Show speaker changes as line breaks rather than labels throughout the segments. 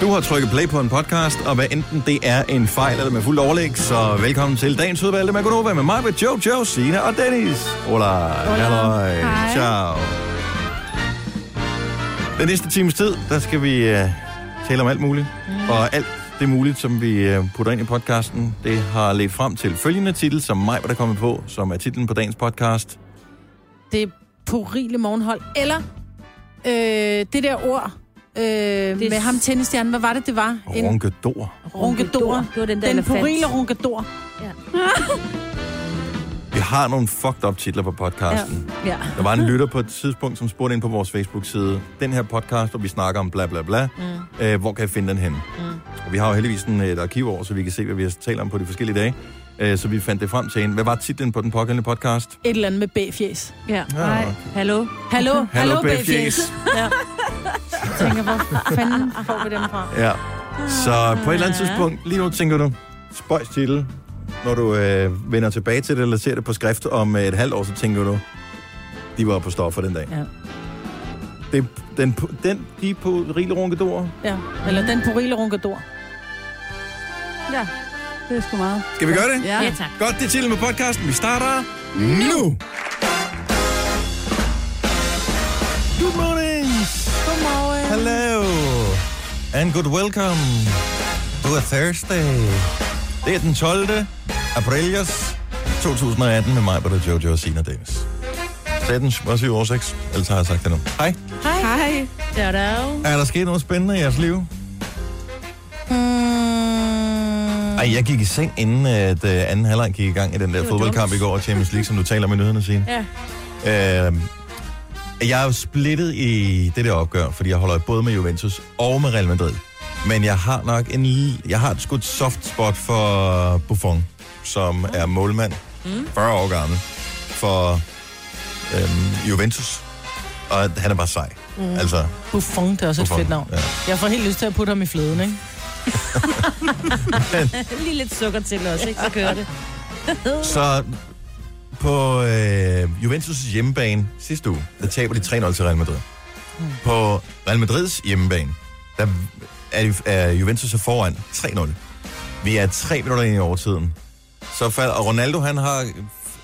Du har trykket play på en podcast, og hvad enten det er en fejl eller med fuld overlæg, så velkommen til dagens udvalgte med Gunova med mig, med Jojo, Sina og Dennis. Hola, halløj,
Hej.
ciao. Den næste times tid, der skal vi øh, tale om alt muligt, og alt det muligt, som vi øh, putter ind i podcasten, det har ledt frem til følgende titel, som mig var der kommet på, som er titlen på dagens podcast.
Det er purile morgenhold. Eller øh, det der ord øh, med ham tennisstjernen. Hvad var det, det var? En
Ronkedor.
runkedor.
Det var den der
Den
elefant.
purile runkedor.
Vi har nogle fucked up titler på podcasten.
Ja.
Der var en lytter på et tidspunkt, som spurgte ind på vores Facebook-side, den her podcast, hvor vi snakker om bla bla bla, mm. øh, hvor kan jeg finde den henne? Mm. Og vi har jo heldigvis sådan et arkiv over, så vi kan se, hvad vi har talt om på de forskellige dage. Øh, så vi fandt det frem til en. Hvad var titlen på den pågældende podcast?
Et eller andet med B-fjes.
Ja.
Nej.
Hallo?
Hallo, hallo, hallo B-fjes.
Ah, B-fjes.
Ja. Jeg tænker, hvor fanden får vi dem fra?
Ja. Så på et eller andet tidspunkt, lige nu tænker du, spøjs titel, når du øh, vender tilbage til det, eller ser det på skrift om øh, et halvt år, så tænker du, de var på stoffer den dag.
Ja.
Det, den, pu- den, de på Rille Runkedorer.
Ja. Eller den purile runkedor.
Ja. Det er sgu meget.
Skal vi gøre det?
Ja, tak.
Godt, det er til med podcasten. Vi starter nu. Good morning.
Godmorgen.
Hello. And good welcome to a Thursday. Det er den 12. aprilius 2018 med mig, Britta Jojo og Sina Dennis. 17, var 7 år 6. Ellers har jeg sagt det nu. Hej.
Hej. Da -da.
Er der sket noget spændende i jeres liv?
Mm.
Mm.
Ej, jeg gik i seng, inden at øh, anden halvleg gik i gang i den der fodboldkamp i går i Champions League, som du taler om i nyhederne, Signe.
Ja.
Øh, jeg er jo splittet i det der opgør, fordi jeg holder både med Juventus og med Real Madrid. Men jeg har nok en lille, jeg har et skudt soft spot for Buffon, som mm. er målmand, mm. 40 år gammel, for øhm, Juventus. Og han er bare sej. Mm. Altså,
Buffon, det er også
Buffon,
et fedt navn.
ja.
Jeg får helt lyst til at putte ham i fløden, ikke?
Lige lidt sukker til os, ikke? Så kører det.
Så på øh, Juventus' hjemmebane sidste uge, der taber de 3-0 til Real Madrid. På Real Madrids hjemmebane, der er, er Juventus er foran 3-0. Vi er 3 minutter ind i overtiden. Så falder, og Ronaldo, han har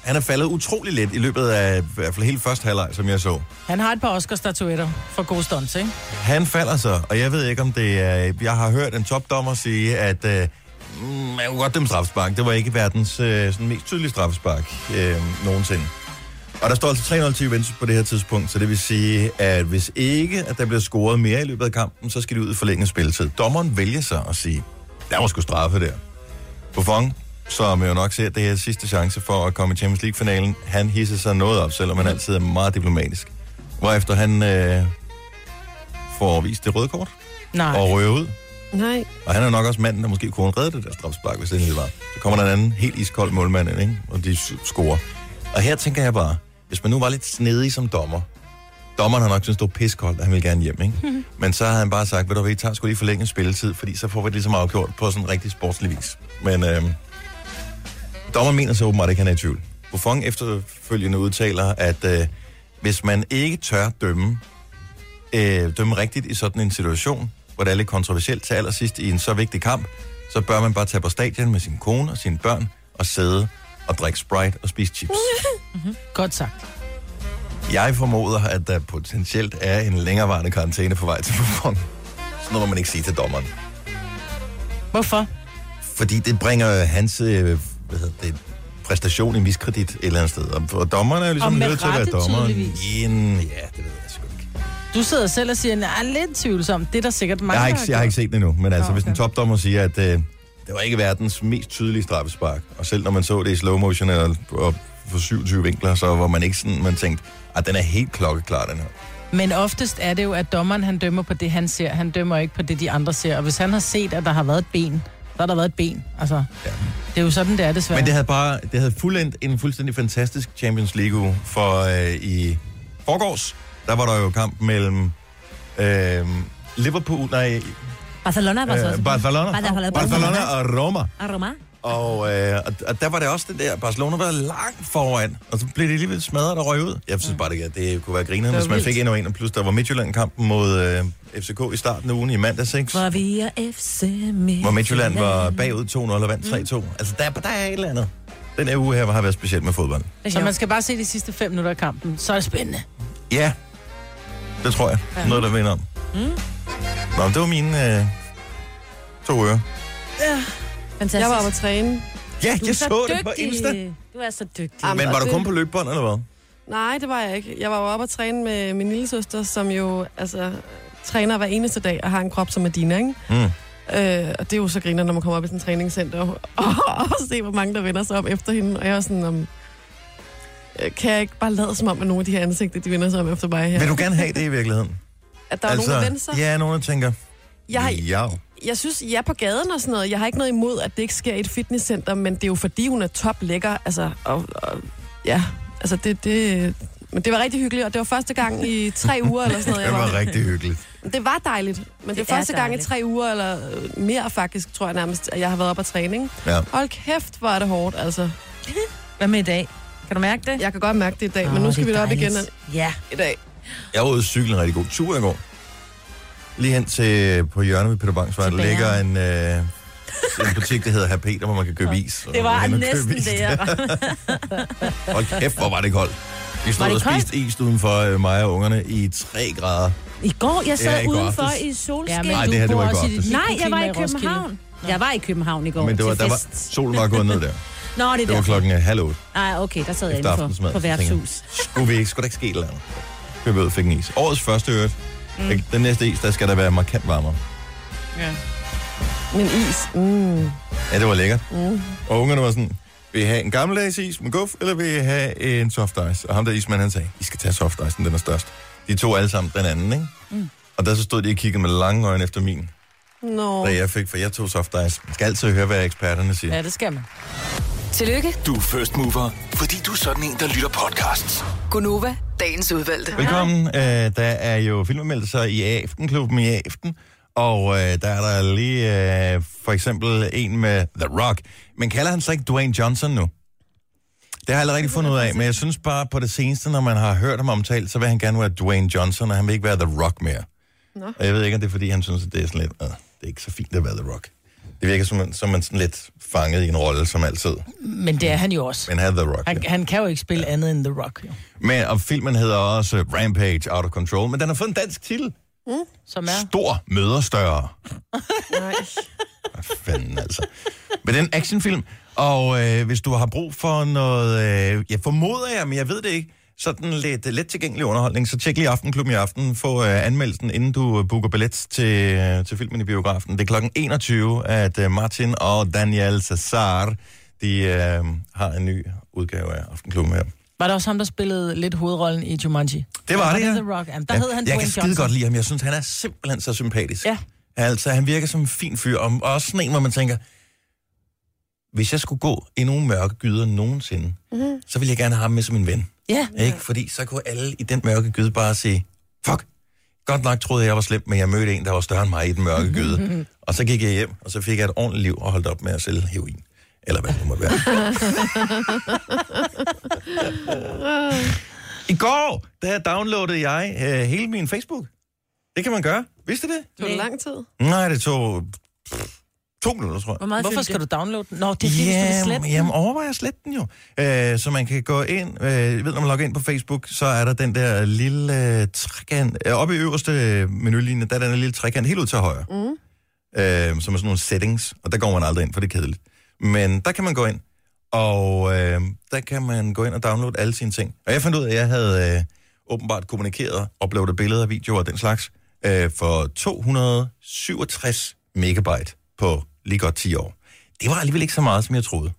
han er faldet utrolig lidt i løbet af i hvert fald hele første halvleg, som jeg så.
Han har et par Oscar-statuetter for gode stunts, ikke?
Han falder så, og jeg ved ikke, om det er... Jeg har hørt en topdommer sige, at øh, mm, man kunne godt dømme straffespark. Det var ikke verdens øh, sådan mest tydelige straffespark øh, nogensinde. Og der står altså 3-0 til Juventus på det her tidspunkt, så det vil sige, at hvis ikke at der bliver scoret mere i løbet af kampen, så skal de ud i forlænget spilletid. Dommeren vælger sig at sige, der var sgu straffe der. Buffon, som jo nok ser, at det her sidste chance for at komme i Champions League-finalen, han hisser sig noget op, selvom han altid er meget diplomatisk. Hvorefter han øh, får vist det røde kort
Nej.
og røver ud.
Nej.
Og han er nok også manden, der måske kunne redde det der strafspark, hvis det endelig var. Så kommer der en anden helt iskold målmand ind, ikke? og de s- scorer. Og her tænker jeg bare, hvis man nu var lidt snedig som dommer, dommeren har nok syntes, det var piskoldt, og han ville gerne hjem, ikke? Men så havde han bare sagt, ved du hvad, I tager sgu lige forlænget spilletid, fordi så får vi det ligesom afgjort på sådan en rigtig sportslig vis. Men øh, dommeren mener så åbenbart ikke, han er i tvivl. Buffon efterfølgende udtaler, at øh, hvis man ikke tør dømme, øh, dømme rigtigt i sådan en situation, hvor det er lidt kontroversielt til allersidst i en så vigtig kamp, så bør man bare tage på stadion med sin kone og sine børn og sidde og drikke Sprite og spise chips.
Godt sagt.
Jeg formoder, at der potentielt er en længerevarende karantæne på vej til Buffon. Sådan noget må man ikke sige til dommeren.
Hvorfor?
Fordi det bringer hans øh, hvad hedder det, præstation i miskredit et eller andet sted. Og- Og dommeren er jo ligesom
Og med
nødt til at være
rette,
dommeren.
tydeligvis.
Inden, ja, det ved jeg sgu ikke.
Du sidder selv og siger, at jeg er lidt tvivlsom. Det er der sikkert mange,
Jeg har,
der
ikke, jeg har ikke set det endnu, men altså, okay.
Nå,
hvis en
okay.
topdommer siger, at øh, det var ikke verdens mest tydelige straffespark, og selv når man så det i slow motion eller og for 27 vinkler, så var man ikke sådan, man tænkte, at den er helt klokkeklar, den her.
gjort. Men oftest er det jo, at dommeren han dømmer på det, han ser. Han dømmer ikke på det, de andre ser. Og hvis han har set, at der har været et ben, så har der været et ben. Altså, ja. det er jo sådan, det er desværre.
Men det havde bare, det havde fuldendt en fuldstændig fantastisk Champions League uge, for øh, i forgårs, der var der jo kamp mellem øh, Liverpool, nej,
Barcelona var så også.
øh, Barcelona,
Barcelona.
Barcelona og Roma.
Aroma.
Og, øh, og, og der var det også det der, Barcelona var langt foran, og så blev det alligevel smadret og røg ud. Jeg
Mm.
synes bare, det, det kunne være grinerende,
Det var
hvis man fik
vildt.
en og en, og plus der var Midtjylland-kampen mod øh, FCK i starten af ugen i mandags, ikke?
Var vi er FC Midtjylland.
hvor Midtjylland var bagud 2-0 og vandt 3-2.
Mm.
Altså, der, der er et eller andet. Den her uge her har været speciel med fodbold.
Så man skal bare se de sidste fem minutter af kampen. Så er det spændende.
Ja, det tror jeg.
Ja.
Noget, der vinder om.
Mm.
Nå, men det var mine øh, to ører.
Fantastisk.
Jeg var oppe at træne.
Ja,
Du er
jeg så,
så
det på Insta.
dygtig. Du er så dygtig.
Jamen,
Men var
og
du
det-
kun på løbebånd, eller hvad?
Nej, det var jeg ikke. Jeg var jo oppe at træne med min lille søster, som jo altså, træner hver eneste dag og har en krop som er din, ikke?
Mm.
Øh, og det er jo så griner, når man kommer op i sådan et træningscenter og, og, og se, hvor mange der vender sig om efter hende. Og jeg er sådan, om, øh, kan jeg ikke bare lade som om, at nogle af de her ansigter, de vender sig om efter mig her?
Vil du gerne have det i virkeligheden?
At der altså, er nogen, der vender sig?
Ja, nogen der tænker,
Jeg, har-
ja.
jeg synes, jeg er på gaden og sådan noget. Jeg har ikke noget imod, at det ikke sker i et fitnesscenter, men det er jo fordi, hun er top lækker. Altså, og, og, ja, altså det, det, men det var rigtig hyggeligt, og det var første gang i tre uger eller sådan noget.
Det
Jeg
var
var.
rigtig hyggeligt.
Det var dejligt, men det,
Det
er
er
første gang i
dejligt.
tre uger, eller øh, mere faktisk, tror jeg nærmest, at jeg har været op og træning.
Ja.
Hold kæft, hvor er det hårdt, altså.
Hvad med i dag? Kan du mærke det?
Jeg kan godt mærke det i dag, men
Åh,
nu skal
det er
vi derop igen
dejligt. Ja.
i dag.
Jeg var ude at cykle en rigtig god tur i går. Lige hen til øh, på hjørnet ved Peter Bangs, hvor der
Til
ligger en, øh, en butik, der hedder Herr Peter, hvor man kan købe is. Og
Det
man
var
kan hen og købe
næsten
is
det, jeg var.
der. Hold kæft, hvor var det koldt. Vi stod
Var
og
det
spiste is udenfor øh, mig og ungerne i 3 grader.
I går, jeg sad
Ja,
ja,
i går
udenfor
aftes.
i solskin.
Ja,
Ja,
men
Nej,
du
det her, det
bor
var i går
også i dit
aftes.
Nej, jeg
mikroklima
var i
Roskilde.
København. Jeg var i København i går
Men det var,
til
der var,
fest.
solen var gået ned der.
Nå, det er
Det var
derfor.
klokken øh, halv otte.
Nej, okay, der sad jeg
Efter
indenfor
aftensmad,
på
så tænker jeg.
værtshus.
Skulle vi ikke, skulle der ikke ske et eller andet. Køb ud og fik en is. Årets første øret. Mm. Den næste is, der skal der være markant varmere.
Men is, mm.
Ja, det var lækkert. Mm. Og ungerne var sådan, vil I have en gammeldags is med guf, eller vil I have en soft ice? Og ham der ismand, han sagde, I skal tage soft icen, den er størst. De to alle sammen den anden, ikke? Mm. Og der så stod de og kiggede med lange øjne efter min,
Nå.
da jeg fik, for jeg tog soft ice. Man skal altid høre, hvad eksperterne siger.
Ja, det skal man.
Tillykke,
Du er first mover, fordi du er sådan en, der lytter podcasts.
Gunova, dagens udvalgte.
Velkommen. Øh, der er jo filmanmeldelser i Aftenklubben i aften, og øh, der er der lige øh, for eksempel en med The Rock. Men kalder han sig ikke Dwayne Johnson nu? Det har jeg allerede fundet ud af, men jeg synes bare på det seneste, når man har hørt ham omtalt, så vil han gerne være Dwayne Johnson, og han vil ikke være The Rock mere. Nå. Og jeg ved ikke, om det er, fordi han synes, at det er sådan lidt, "Ah, det er ikke så fint at være The Rock. Det virker som, som man sådan lidt fanget i en rolle, som altid.
Men det er han jo også.
Men han er The Rock.
Han, han kan jo ikke spille andet end The Rock, jo.
Men, og filmen hedder også Rampage Out of Control, men den har fået en dansk titel.
Som er...
Stor møder større.
Nej.
Fanden altså. Men den actionfilm, og øh, hvis du har brug for noget, øh, jeg formoder jeg, men jeg ved det ikke, sådan lidt let tilgængelig underholdning, så tjek lige Aftenklubben i aften. Få øh, anmeldelsen, inden du øh, booker billet til, øh, til filmen i biografen. Det er klokken 21, at øh, Martin og Daniel Cesar, de øh, har en ny udgave af Aftenklubben her.
Var det også ham, der spillede lidt hovedrollen i Jumanji?
Det var det,
ja.
ja.
The Rock. Jamen, der ja, hed han
jeg
Dwayne
kan skide
Johnson.
godt lide ham. Jeg synes, han er simpelthen så sympatisk.
Ja.
Altså, han virker som en fin fyr, og og også sådan en, hvor man tænker, hvis jeg skulle gå i nogle mørke gyder nogensinde, mm-hmm.
Mhm.
så ville jeg gerne have ham med som en ven.
Ja,
Ikke? Fordi så kunne alle i den mørke gyde bare sige, fuck, godt nok troede jeg, jeg var slem, men jeg mødte en, der var større end mig i den mørke gyde. og så gik jeg hjem, og så fik jeg et ordentligt liv og holdt op med at sælge heroin. Eller hvad det måtte være. I går, der downloadede jeg øh, hele min Facebook. Det kan man gøre. Vidste du det?
Det var lang tid.
Nej, det tog pff, to minutter, tror jeg.
Hvor meget
Hvorfor skal du downloade den? Nå, det er fordi, yeah, du
Ja,
skal slette den.
jamen overvej at slette den jo. Øh, så man kan gå ind, øh, ved når man logger ind på Facebook, så er der den der lille øh, trekant, øh, oppe i øverste menulinje, der er den der lille trekant helt ud til højre. Mm. Øh, som er sådan nogle settings, og der går man aldrig ind, for det er kedeligt. Men der kan man gå ind, og øh, der kan man gå ind og downloade alle sine ting. Og jeg fandt ud af, at jeg havde øh, åbenbart kommunikeret, uploadet billeder, videoer og den slags, øh, for 267 megabyte på lige godt 10 år. Det var alligevel ikke så meget, som jeg troede.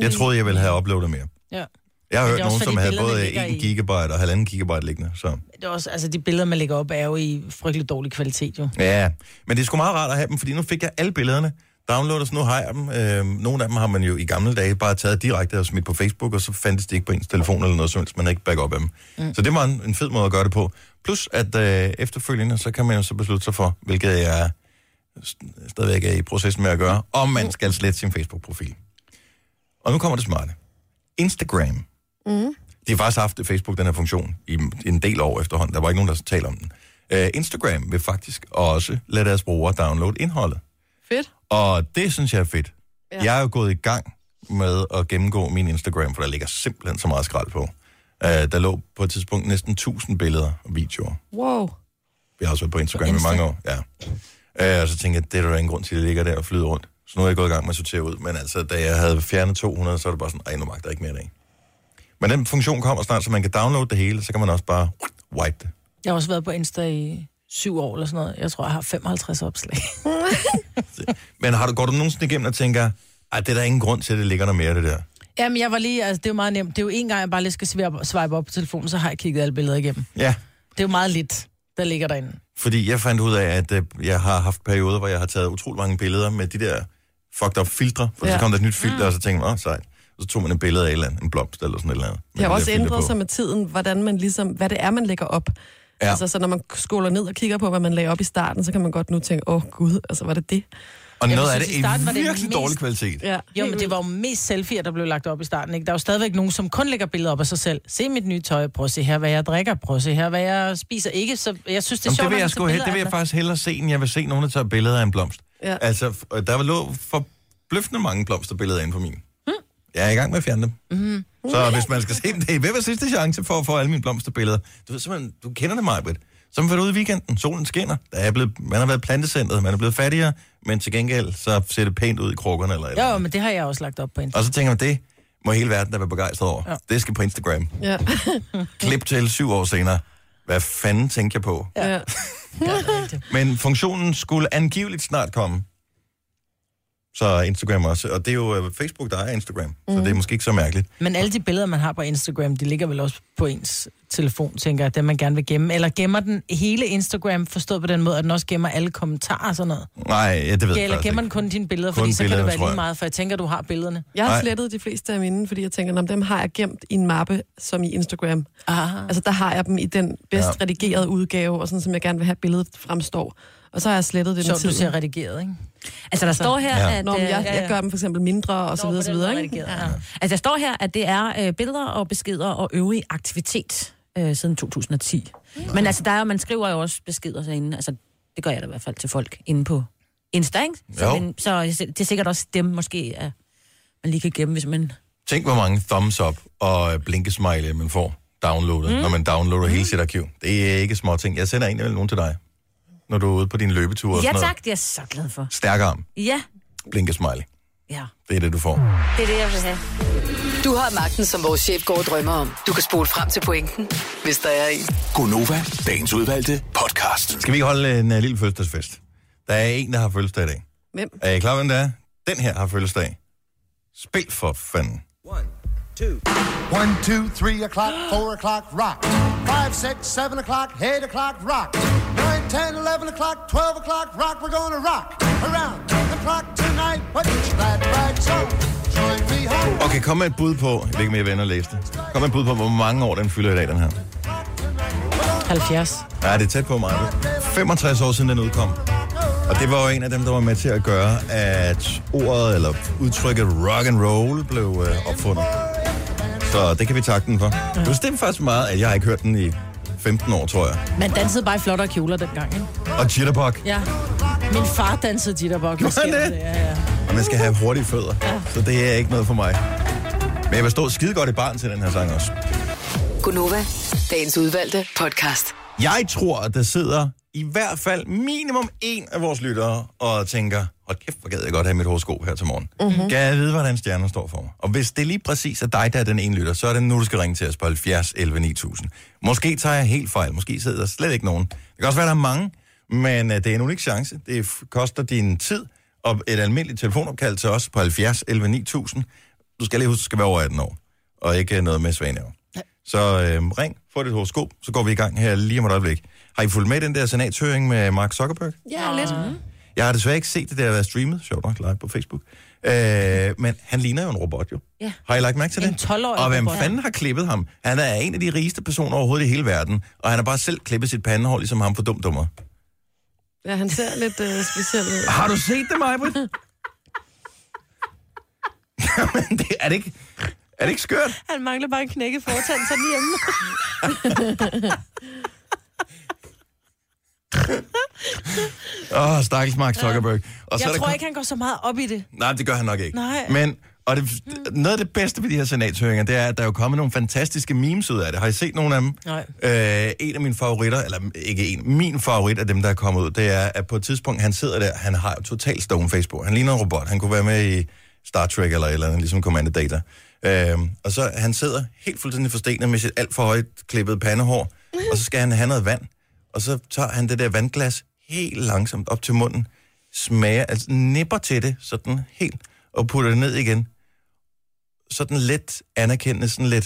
Jeg troede, jeg ville have uploadet mere.
Ja.
Jeg har
Mm. Men
hørt
det er også
nogen,
fordi
som havde
billederne
både
ligger
1
i-
gigabyte og 1,5 gigabyte liggende. Så.
Det er også, altså, de billeder, man lægger op, er jo i frygtelig dårlig kvalitet, jo.
Ja, men det er sgu meget rart at have dem, fordi nu fik jeg alle billederne downloadet, så nu har jeg dem. Øhm, nogle af dem har man jo i gamle dage bare taget direkte og smidt på Facebook, og så fandtes de ikke på ens telefon eller noget som helst, man havde ikke backup af dem. Mm. Så det var en, en fed måde at gøre det på. Plus at øh, efterfølgende, så kan man jo så beslutte sig for, hvilket jeg st- stadigvæk er i processen med at gøre, om man skal slette sin Facebook-profil. Og nu kommer det smarte. Instagram.
Mm.
De har faktisk haft Facebook, den her funktion, i en del år efterhånden. Der var ikke nogen, der talte om den. Øh, Instagram vil faktisk også lade deres brugere downloade indholdet.
Fedt.
Og det synes jeg er fedt.
Ja.
Ja. Jeg er jo gået i gang med at gennemgå min Instagram, for der ligger simpelthen så meget skrald på. Uh, der lå på et tidspunkt næsten 1000 billeder og videoer.
Wow.
Jeg har også været på Instagram i mange år. Ja. Uh, og så tænkte jeg, det er der jo ingen grund til, at det ligger der og flyder rundt. Så nu er jeg gået i gang med at sortere ud. Men altså, da jeg havde fjernet 200, så er det bare sådan, ej, nu magter jeg ikke mere i dag. Men den funktion kommer snart, så man kan downloade det hele, så kan man også bare wipe det.
Jeg har også været på Insta i syv år eller sådan noget. Jeg tror, jeg har 55 opslag.
Men har du, går du nogensinde igennem og tænker, ej, det er der ingen grund til, at det ligger der mere, det der?
Jamen, jeg var lige, altså, det er jo meget nemt. Det er jo en gang, jeg bare lige skal swipe- swipe op på telefonen, så har jeg kigget alle billeder igennem.
Ja.
Det er jo meget lidt, der ligger derinde.
Fordi jeg fandt ud af, at øh, jeg har haft perioder, hvor jeg har taget utrolig mange billeder med de der fucked up filtre, for ja.
Ja.
så kom der et nyt filter, mm. og så tænkte jeg, åh, sejt. Og så tog man et billede af et eller andet, en blomst eller sådan et eller andet. med
Det har
de
også
der filter
ændret
på.
sig med tiden, hvordan man ligesom, hvad det er, man lægger op.
Ja.
Ja. Altså, så når man skåler ned og kigger på, hvad man lagde op i starten, så kan man godt nu tænke, åh oh, gud, altså var det det?
Og
Jeg
noget af
synes,
det
i starten
er
var det
virkelig
mest-
dårlig kvalitet.
Ja.
Jo, men det var jo mest selfie'er, der blev lagt op i starten. Ikke? Der er jo stadigvæk nogen, som kun lægger billeder op af sig selv. Se mit nye tøj, prøv at se her, hvad jeg drikker, prøv at se her, hvad jeg spiser. Ikke, så jeg synes, det er
Jamen,
sjovt,
det vil
når man
jeg,
tager
sgu, hel-
billeder
det vil
af
jeg
andre.
faktisk hellere se, end jeg vil se nogen, der tager billeder af en blomst.
Ja.
Altså, f- øh, der lå for bløffende mange blomsterbilleder inde på min. Mm. Jeg er i gang med at fjerne dem. Mm. Så hvis man skal se dem, det er ved at være sidste chance for at få alle mine blomsterbilleder. Du ved simpelthen, du kender det, Majbrit. Så man får det ud i weekenden, solen skinner, der er blevet, man har været plantecentret, man er blevet fattigere, men til gengæld så ser det pænt ud i krukkerne. Eller, eller.
Jo, men det har jeg også lagt op på Insta.
Og så tænker man, det må hele verden da være begejstret over. Ja. Det skal på
Mm.
Instagram.
Ja.
Klip til syv år senere. Hvad fanden tænker jeg på?
ja.
Men funktionen skulle angiveligt snart komme. Så Instagram også. Og det er jo øh, Facebook, der er Instagram. Mm.
Mhm.
Så det er måske ikke så mærkeligt.
Men alle de billeder, man har på Instagram, de ligger vel også på ens telefon, tænker jeg, dem man gerne vil gemme. Eller gemmer den hele Instagram, forstået på den måde, at den også gemmer alle kommentarer og sådan noget.
Nej, ja, det ved
Ja,
jeg
eller
faktisk
gemmer
ikke.
den kun dine billeder,
Kun
fordi så kan det
billederne,
være
tror
lige
jeg.
meget, for jeg tænker, du har billederne.
Jeg har
Nej.
slettet de fleste af mine, fordi jeg tænker, om dem har jeg gemt i en mappe, som i Instagram.
Aha.
Altså, der har jeg dem i den bedst
Ja.
ja. redigerede udgave, og sådan, som jeg gerne vil have billedet fremstår. Og så har jeg slettet det med
Sjovt, du
tiden.
ser redigeret, ikke?
Altså, der står her,
Ja.
ja. at...
Nå, men
øh,
jeg, jeg gør dem for eksempel mindre, og så videre, og så videre, ikke?
Ja. Altså, der står her, at det er øh, billeder og beskeder og øvrig aktivitet øh, siden 2010. Men altså, der er, jo- man skriver jo også beskeder derinde. Altså, det gør jeg da i hvert fald til folk inde på Insta, ikke? Så,
Jo.
men, så det er sikkert også dem, måske, at man lige kan gemme, hvis man...
Tænk, hvor mange thumbs up og øh, blinkesmiley, man får downloadet,
Mhm.
mm. når man downloader mm. hele sit arkiv. Det er ikke små ting. Jeg sender en eller nogen til dig, når du er ude på din løbetur. og
Ja
sådan
tak, det er jeg så glad for.
Stærk arm,
Ja,
blinkesmiley.
ja.
Det er det, du får.
Det er det, jeg vil have.
Du har magten, som vores chef går og drømmer om. Du kan spole frem til pointen, hvis der er en.
Gonova, dagens udvalgte podcast.
Skal vi ikke holde en uh, lille fødselsdagsfest? Der er en, der har fødselsdag i dag.
Hvem?
Er I klar, hvem det er? Den her har fødselsdag. Spil for fanden.
One, two, three o'clock, four o'clock, rock. Five, six, seven o'clock, eight o'clock, rock. Nine, ten, eleven o'clock, twelve o'clock, rock. We're gonna rock around the clock tonight. Put your glad rags on. Join me home.
Okay, kom med et bud på, jeg ved ikke, om jeg venner læste. Kom med et bud på, hvor mange år den fylder i dag, den her.
70.
Ja, det er tæt på mig. 65 år siden den udkom. Og det var jo en af dem, der var med til at gøre, at ordet eller udtrykket rock and roll blev øh, opfundet. Så det kan vi takke den for. Du stemte faktisk meget, at jeg har ikke hørt den i 15 år, tror jeg.
Man dansede bare i flottere kjoler dengang, ikke?
Og jitterbug.
Ja. Min far dansede jitterbug.
Gjorde han det?
Ja, ja.
Og man skal have hurtige fødder. Så det er ikke noget for mig. Men jeg vil stå skide godt i barn til den her sang også.
Gonova, dagens udvalgte podcast.
Jeg tror, at der sidder i hvert fald minimum en af vores lyttere og tænker, hold kæft, hvor gad jeg godt have mit horoskop her til morgen. Mm-hmm. Kan jeg vide, hvordan stjernen står for mig? Og hvis det lige præcis er dig, der er den ene lytter, så er det nu, du skal ringe til os på 70 11 9000. Måske tager jeg helt fejl. Måske sidder der slet ikke nogen. Det kan også være, der er mange, men øh, det er en unik chance. Det f- koster din tid og et almindeligt telefonopkald til os på 70 11 9000. Du skal lige huske, du skal være over 18 år, og ikke øh, noget med svaner. Så øh, ring, få dit horoskop, så går vi i gang her lige om et øjeblik. Har I fulgt med i den der senatshøring med Mark Zuckerberg?
Ja, lidt.
Jeg har desværre ikke set det, der har været streamet, sjovt nok, live på Facebook. Øh, men han ligner jo en robot, jo.
Ja.
Har I lagt mærke til det?
En 12-årig
Og hvem
robot.
fanden har klippet ham? Han er en af de rigeste personer overhovedet i hele verden, og han har bare selv klippet sit pandehår, ligesom ham for dumdummer.
Ja, han ser lidt øh, speciel ud.
Har du set det, Majbrit? Jamen, det, er, det ikke, er det ikke skørt?
Han mangler bare en knækket fortand, så lige hjemme.
Åh, oh, stakkels Mark Zuckerberg. Og
Jeg
er der
tror
kun-
ikke, han går så meget op i det.
Nej, det gør han nok ikke.
Nej.
Men, og det, noget af det bedste ved de her senatshøringer, det er, at der er jo kommet nogle fantastiske memes ud af det. Har I set nogle af dem?
Nej.
Øh, en af mine favoritter, eller ikke en, min favorit af dem, der er kommet ud, det er, at på et tidspunkt, han sidder der, han har totalt stoneface på. Han ligner en robot. Han kunne være med i Star Trek eller et eller andet, ligesom Commander Data. Øh, og så han sidder helt fuldstændig forstenet med sit alt for højt klippet pandehår, og så skal han have noget vand. Og så tager han det der vandglas helt langsomt op til munden, smager, altså nipper til det, sådan helt, og putter det ned igen. Sådan let anerkendende, sådan lidt.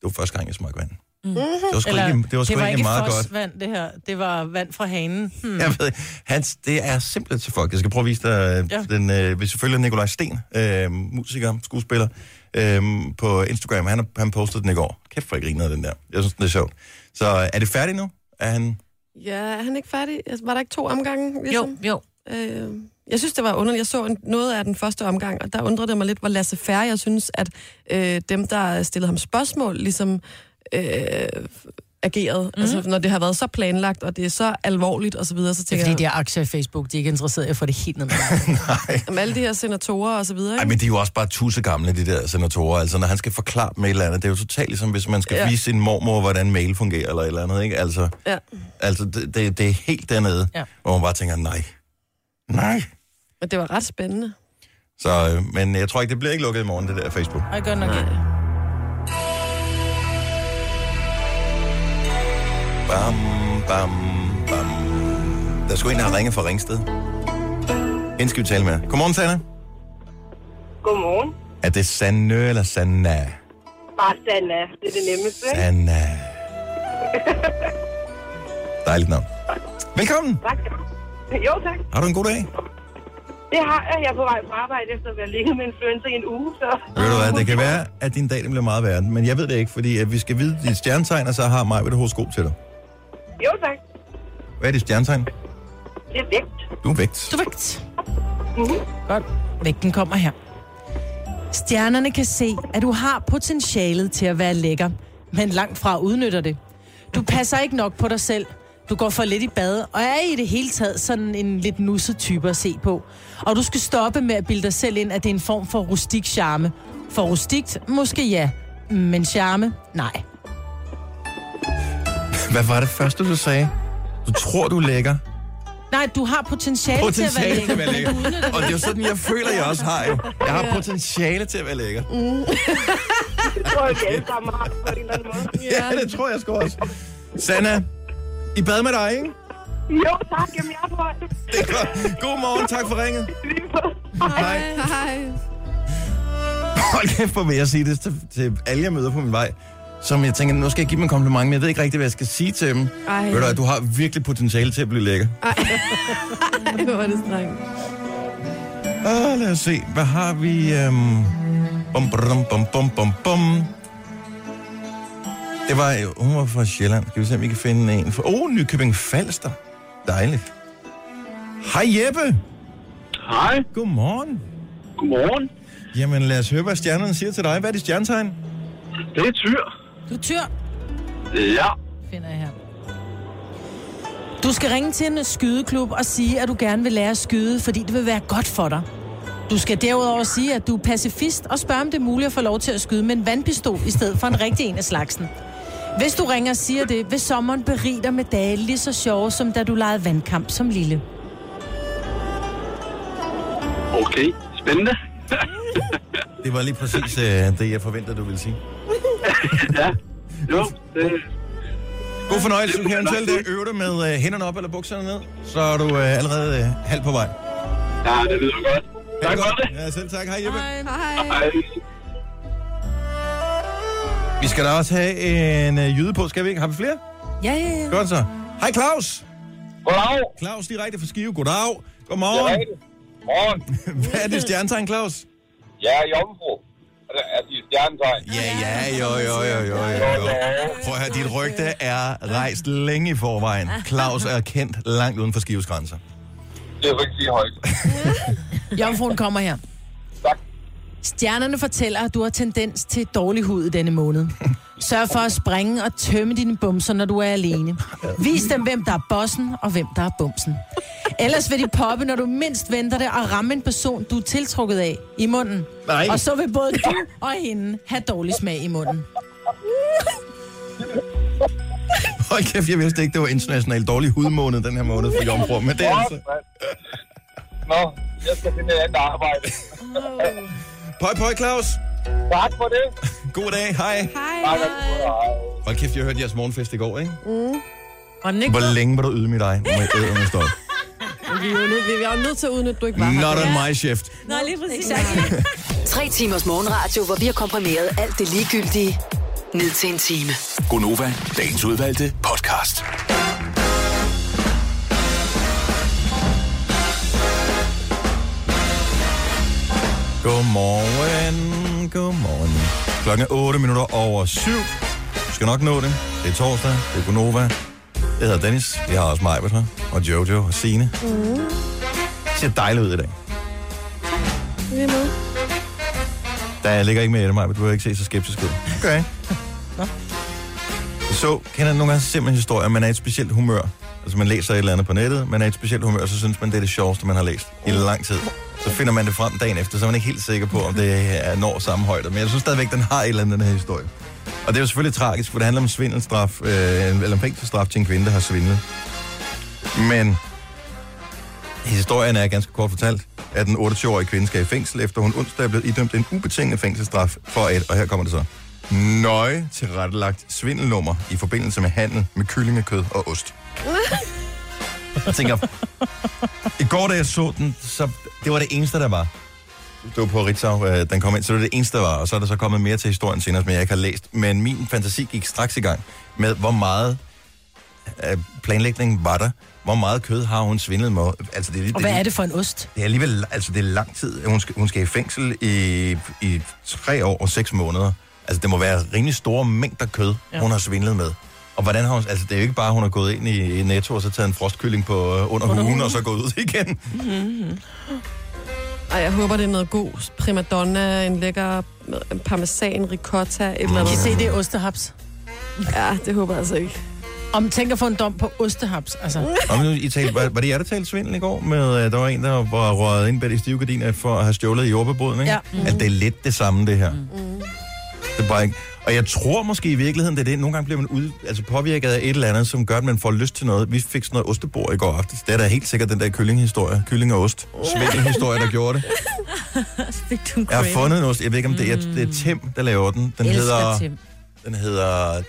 Det var første gang, jeg smagte vand. Mm. Det var sgu Eller, ikke, det var sgu
det var
ikke
ikke
meget godt.
fosvand, det her. Det var vand fra hanen. Hmm.
Jeg ved, ikke. Hans, det er simpelthen til folk. Jeg skal prøve at vise dig ja.
Ja.
den, øh, hvis du følger Nikolaj Sten, øh, musiker, skuespiller, øh, på Instagram. Han, har- han postede den i går. Kæft, hvor jeg grinede af den der. Jeg synes, det er sjovt. Så er det færdigt nu? Er han...
Ja, er han ikke færdig? Altså, var der ikke to omgange? Ligesom?
Jo, jo.
Øh, jeg synes, det var underligt. Jeg så en, noget af den første omgang, og der undrede det mig lidt, hvor Lasse Færre, jeg synes, at øh, dem, der stillede ham spørgsmål, ligesom øh, agerede.
Mhm.
Mm. Altså, når det har været så planlagt, og det er så alvorligt osv., så, videre, så
Det er
tænker
fordi,
jeg,
de har aktier i Facebook. De er ikke interesseret i at få det helt ned. med.
om alle de her senatorer og så
Ej,
videre, ikke?
men de er jo også bare tusse gamle, de der senatorer. Altså, når han skal forklare dem et eller andet, det er jo totalt ligesom, hvis man skal ja.
Ja.
vise sin mormor, hvordan mail fungerer eller et eller andet, ikke? Altså,
Ja.
altså det, det, det er helt dernede, ja.
Ja.
hvor man bare tænker, nej, nej.
Men det var ret spændende.
Så, øh, men jeg tror ikke, det bliver ikke lukket i morgen, det der Facebook.
Ej, godt nok ikke.
Bam, bam, bam. Der skulle en, der har ringet fra Ringsted. Hende skal vi tale med. Godmorgen, Sanna.
Godmorgen.
Er det Sanne eller Sanna?
Bare Sanna. Det er det nemmeste. ikke?
Sanna. Dejligt navn. Velkommen.
Tak. Jo, tak.
Har du en god dag?
Det har jeg. Jeg er på vej på arbejde efter at være ligget med influenza i en uge, så...
Ved du hvad, det kan være, at din dag den bliver meget værre, men jeg ved det ikke, fordi at vi skal vide dit stjernetegn, og så har mig et horoskop til dig.
Jo, tak.
Hvad er dit stjernetegn?
Det er vægt.
Du er vægt.
Du vægt. Godt. Vægten kommer her. Stjernerne kan se, at du har potentialet til at være lækker, men langt fra udnytter det. Du passer ikke nok på dig selv. Du går for lidt i bad, og er i det hele taget sådan en lidt nusset type at se på. Og du skal stoppe med at bilde dig selv ind, at det er en form for rustik charme. For rustikt, måske ja, men charme, nej.
Hvad var det første, du sagde? Du tror, du er lækker.
Nej, du har potentiale, til at være
Potentiale
lækker.
til at være lækker. Og det er jo sådan, jeg føler, jeg også har. Jo. Jeg har potentiale til at være lækker.
Mm.
Det tror jeg, vi alle sammen har på en eller anden måde.
Ja, det tror jeg sgu også. Sanna, i bad med dig, ikke?
Jo, tak. Jamen, jeg er på vej.
Det er godt. God morgen, tak for ringet.
Lige på.
Hej.
Hej.
Hold kæft, hvor vil jeg sige det til, til alle, jeg møder på min vej. Som jeg tænker, nu skal jeg give dem en kompliment, men jeg ved ikke rigtig, hvad jeg skal sige til dem.
Ej.
Ved du, hvad, du har virkelig potentiale til at blive lækker.
Ej, hvor er det strengt.
Åh, Ah, lad os se, hvad har vi? Øhm... Bum, bum, bum, bum, bum, bum. Det var, jo- hun var fra Sjælland. Skal vi se, om vi kan finde en. For... Oh, Nykøbing Falster. Dejligt. Hej Jeppe.
Hej,
Godmorgen.
godmorgen.
Jamen lad os høre, hvad stjernerne siger til dig. Hvad er dit stjernetegn?
Det er Tyr.
Du er tyr.
Ja,
finder jeg her. Du skal ringe til en skydeklub og sige, at du gerne vil lære at skyde, fordi det vil være godt for dig. Du skal derudover sige, at du er pacifist og spørge, om det er muligt at få lov til at skyde med en vandpistol i stedet for en rigtig en af slagsen. Hvis du ringer og siger det, vil sommeren berige dig med dage lige så sjove, som da du legede vandkamp som lille.
okay. Spændende.
Det var lige præcis øh, det, jeg forventede, du ville sige.
Jo, det,
God fornøjelse. Du kan eventuelt øh, øve dig med øh, hænderne op eller bukserne ned, så er du øh, allerede øh, halvt på vej. Ha'
ja, det lyder godt.
det
Tak for
godt.
det.
Ja, selv tak. Hej Jeppe.
Hej.
Hej.
Vi skal da også have en øh, jyde på, skal vi ikke? Har vi flere?
Ja, ja, ja.
Godt så. Hej Claus.
Goddag.
Claus direkte fra Skive. Goddag. Godmorgen.
Morgen.
Hvad er det stjernetegn, Claus?
Jeg er jomfru. Altså, i stjernetegn.
Ja, ja, jo, jo, jo, jo, jo. jo. Prøv at høre, dit rygte er rejst længe i forvejen. Claus er kendt langt uden for Skives grænser.
Det er rigtig højt.
Jomfruen kommer her. Stjernerne fortæller, at du har tendens til dårlig hud i denne måned. Sørg for at springe og tømme dine bumser, når du er alene. Vis dem, hvem der er bossen og hvem der er bumsen. Ellers vil de poppe, når du mindst venter det, og ramme en person, du er tiltrukket af i munden.
Nej.
Og så vil både du og hende have dårlig smag i munden.
Hold kæft, jeg vidste ikke, det var international dårlig hudmåned den her måned for Jomfru. Men det er altså...
Nå, jeg skal finde et andet arbejde.
Pøj, pøj, Claus.
tak for det.
God dag. Hej.
Hej. Hej. Mm.
Hold kæft, jeg hørte jeres morgenfest i går, ikke?
Var den ikke
Hvor længe var du ydmyg dig? Må jeg æde mig stop.
Vi er jo nødt, vi er jo nødt til at udnytte, at du ikke var
Not
her.
on my shift.
Nej, lige præcis.
Tre timers morgenradio, hvor vi har komprimeret alt det ligegyldige ned til en time.
Gonova, dagens udvalgte podcast.
Godmorgen, godmorgen. Klokken er 8 minutter over 7. Du skal nok nå det. Det er torsdag, det er Gunova. Jeg hedder Dennis, vi har også mig, her, og Jojo og Signe. Mm. Det ser dejligt ud i dag. Da jeg ligger ikke med Elmej, men du vil ikke se så skeptisk ud. Okay. så kender jeg nogle gange simpelthen historier, man er i et specielt humør. Altså man læser et eller andet på nettet, man er i et specielt humør, så synes man, det er det sjoveste, man har læst i lang tid. Så finder man det frem dagen efter, så er man ikke helt sikker på, om det er når samme højde. Men jeg synes stadigvæk, den har et eller andet, den her historie. Og det er jo selvfølgelig tragisk, for det handler om svindelstraf, øh, eller om fængselsstraf til en kvinde, der har svindlet. Men Historien er ganske kort fortalt, at den 28-årige kvinde skal i fængsel, efter hun onsdag blev idømt en ubetinget fængselsstraf for et, og her kommer det så, nøje tilrettelagt svindelnummer i forbindelse med handel med kyllingekød og ost. Jeg tænker, i går da jeg så den, så det var det eneste, der var. Det var på Ritzau, øh, den kom ind, så det var det eneste, der var, og så er der så kommet mere til historien senere, som jeg ikke har læst. Men min fantasi gik straks i gang med, hvor meget øh, planlægning var der, hvor meget kød har hun svindlet med. Altså, det,
Og hvad er det for en ost?
det er alligevel, altså det er lang tid. Hun skal, hun skal i fængsel i, i tre år og seks måneder. Altså det må være rimelig store mængder kød, ja. hun har svindlet med. Og hvordan har hun, altså det er jo ikke bare, hun har gået ind i, i Netto og så taget en frostkylling på, øh, under, under hugen, og så gået ud igen.
Mm-hmm. Ej, jeg håber, det er noget god primadonna, en lækker parmesan, ricotta, et eller
I
andet.
se, det er ostehaps.
Ja, det håber jeg altså ikke.
Om tænker få en dom på ostehaps,
Mm.
altså.
Og nu, I talte, var, var det jer, der talte svindel i går? Med, øh, der var en, der var røget ind bag de stive gardiner for at have stjålet i jordbebryden, ikke?
Ja.
Mm. At det er lidt det samme, det her. Mm. Det er bare ikke... Og jeg tror måske i virkeligheden, det er det. Nogle gange bliver man ud, altså påvirket af et eller andet, som gør, at man får lyst til noget. Vi fik sådan noget ostebord i går aftes. Det er da helt sikkert den der kyllinghistorie. Kylling og ost. Svindelhistorie, der gjorde det.
Fik du en
Jeg har
craving?
fundet en ost. Jeg ved ikke, om det er, det
Mm.
er Tim, der laver den. Den
Elsker
hedder...
Tim.
Den hedder øh,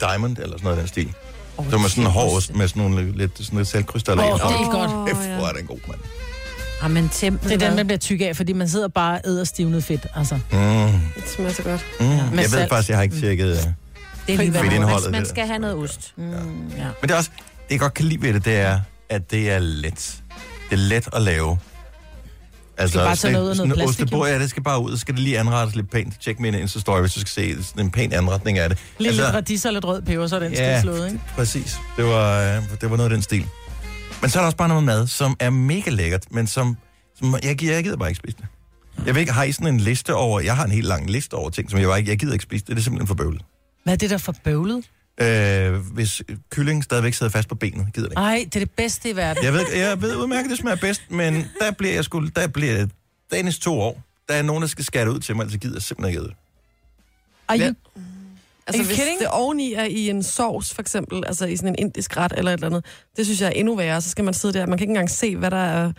Diamond, eller sådan noget i den stil. Som er sådan en hård ost med sådan nogle lidt, sådan lidt saltkrystaller.
Åh,
i.
det
Åh,
er godt.
kæft, Hvor er den god, mand.
Jamen, Tim,
Det er den, man bliver tyk af, fordi man sidder bare og æder stivnet fedt, altså.
Mm.
Det smager så godt.
Mm, jeg ved
salt. Mm.
faktisk, jeg har ikke tjekket. øh.
det er lige
Fedt
hvad
indholdet,
man-
det
Man
der.
skal have noget ost.
Men det er også, det jeg godt kan lide ved det, det er, at det er let. Det er let at lave. Altså,
bare tage noget ud af noget
sådan en
plastik,
ostebord, ja, det skal bare ud, så skal det lige anrettes lidt pænt. Tjek min Insta-story, hvis du skal se sådan en pæn anretning af det.
Lidt altså, radis og lidt rød peber, så er den
ja,
yeah. slået, ikke?
præcis. Det var, øh, det var noget af den stil. Men så er der også bare noget mad, som er mega lækkert, men som, som jeg, gi- jeg gider bare ikke spise det. Jeg ved ikke, har I sådan en liste over, jeg har en helt lang liste over ting, som jeg bare ikke, jeg gider ikke spise det, det er simpelthen for bøvlet.
Hvad er det der for bøvlet?
Øh, hvis kyllingen stadigvæk sidder fast på benet, gider det ikke.
Ej, det er det bedste i verden.
Jeg ved, jeg ved udmærket, det smager bedst, men der bliver jeg sgu, der bliver Danes to år. Der er nogen, der skal skære det ud til mig, altså gider jeg simpelthen ikke æde det.
Are
Ja.
you
Altså,
you
hvis
kidding?
det oveni er i en sovs, for eksempel, altså i sådan en indisk ret eller et eller andet, det synes jeg er endnu værre. Så skal man sidde der, man kan ikke engang se, hvad der er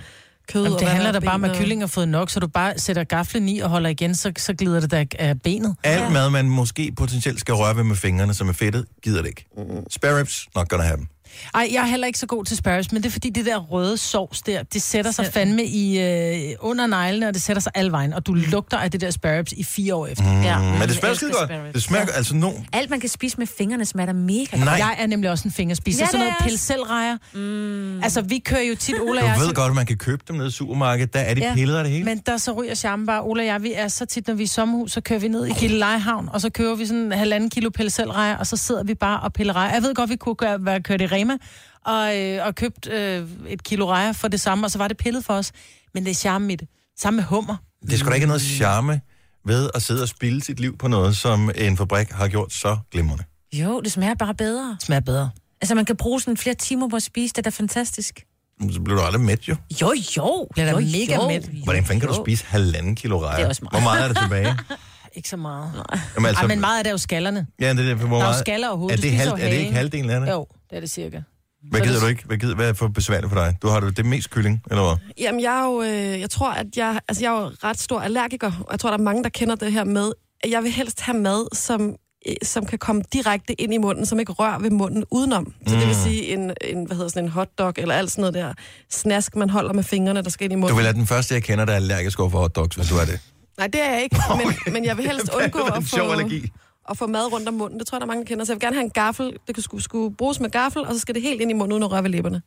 kød
Jamen,
og
det
hvad
handler
der
da
er
bare om,
ben
at
og-
kyllingen har fået nok, så du bare sætter gaflen i og holder igen, så, så glider det der af benet.
Alt mad, man måske potentielt skal røre ved med fingrene, som er fedtet, gider det ikke. Spare ribs, not gonna have dem.
Ej, jeg er heller ikke så god til Sparrows, men det er fordi, det der røde sovs der, det sætter sig fandme i, øh, under neglene, og det sætter sig alvejen, og du lugter af det der Sparrows i fire år efter.
Mm,
Ja.
men det smager
elsker
skide godt.
Sparrows.
Det smager, altså, no,
Alt, man kan spise med fingrene, smager mega godt.
Nej.
Jeg er nemlig også en fingerspiser,
Ja,
ja,
det
sådan noget
er jeg
pille selv rejer. Mm. Altså, vi kører jo tit, Ola og jeg...
du ved godt, at man kan købe dem nede i supermarkedet. Der er de ja. piller af det hele.
Men der så ryger charme bare. Ola og jeg, vi er så tit, når vi er i sommerhus, så kører vi ned i Gillelejehavn, og så kører vi sådan en halvanden kilo pelselrejer, og så sidder vi bare og piller rejer. Jeg ved godt, vi kunne gøre, være kørt i Rema og, øh, og købt øh, et kilo rejer for det samme, og så var det pillet for os. Men det er charme i det. Samme med hummer.
Det er sgu da ikke noget charme ved at sidde og spilde sit liv på noget, som en fabrik har gjort så glimrende.
Jo, det smager bare bedre.
Smager bedre.
Altså, man kan bruge sådan flere timer på at spise, det er da fantastisk.
Så bliver du aldrig mæt, jo.
Jo, jo.
Bliver da
jo,
mega
jo.
mæt.
Hvordan fanden kan du spise halvanden kilo rejer?
Det er også meget.
Hvor meget er der tilbage?
Ikke så meget.
Jamen, altså-
Ej, men meget af det er jo skallerne.
Ja, det er det. Hvor
Der er
meget...
jo skaller og hoved.
Er
Du
det,
spiser
halv...
jo
er det ikke
halen.
halvdelen af det?
Jo, det er det cirka.
Hvad
Så
gider
det-
du ikke? Hvad, gider... Hvad er for besværligt for dig? Du har det, det er mest kylling, eller hvad?
Jamen, jeg, er jo, øh, jeg tror, at jeg, altså, jeg er jo ret stor allergiker, og jeg tror, der er mange, der kender det her med, at jeg vil helst have mad, som, øh, som kan komme direkte ind i munden, som ikke rører ved munden udenom. Så det vil
Mm.
sige en, en, hvad hedder sådan en hotdog, eller alt sådan noget der snask, man holder med fingrene, der skal ind i
Du
munden.
vil være den første, jeg kender, der er allergisk over for hotdogs, hvis du er det.
Nej, det er jeg ikke, men, men jeg vil helst undgå
Hvad er det for
at
en
få,
sjov allergi?
at få mad rundt om munden. Det tror jeg, der er mange, der kender. Så jeg vil gerne have en gaffel. Det kan skulle, skulle bruges med gaffel, og så skal det helt ind i munden, uden at røre ved læberne.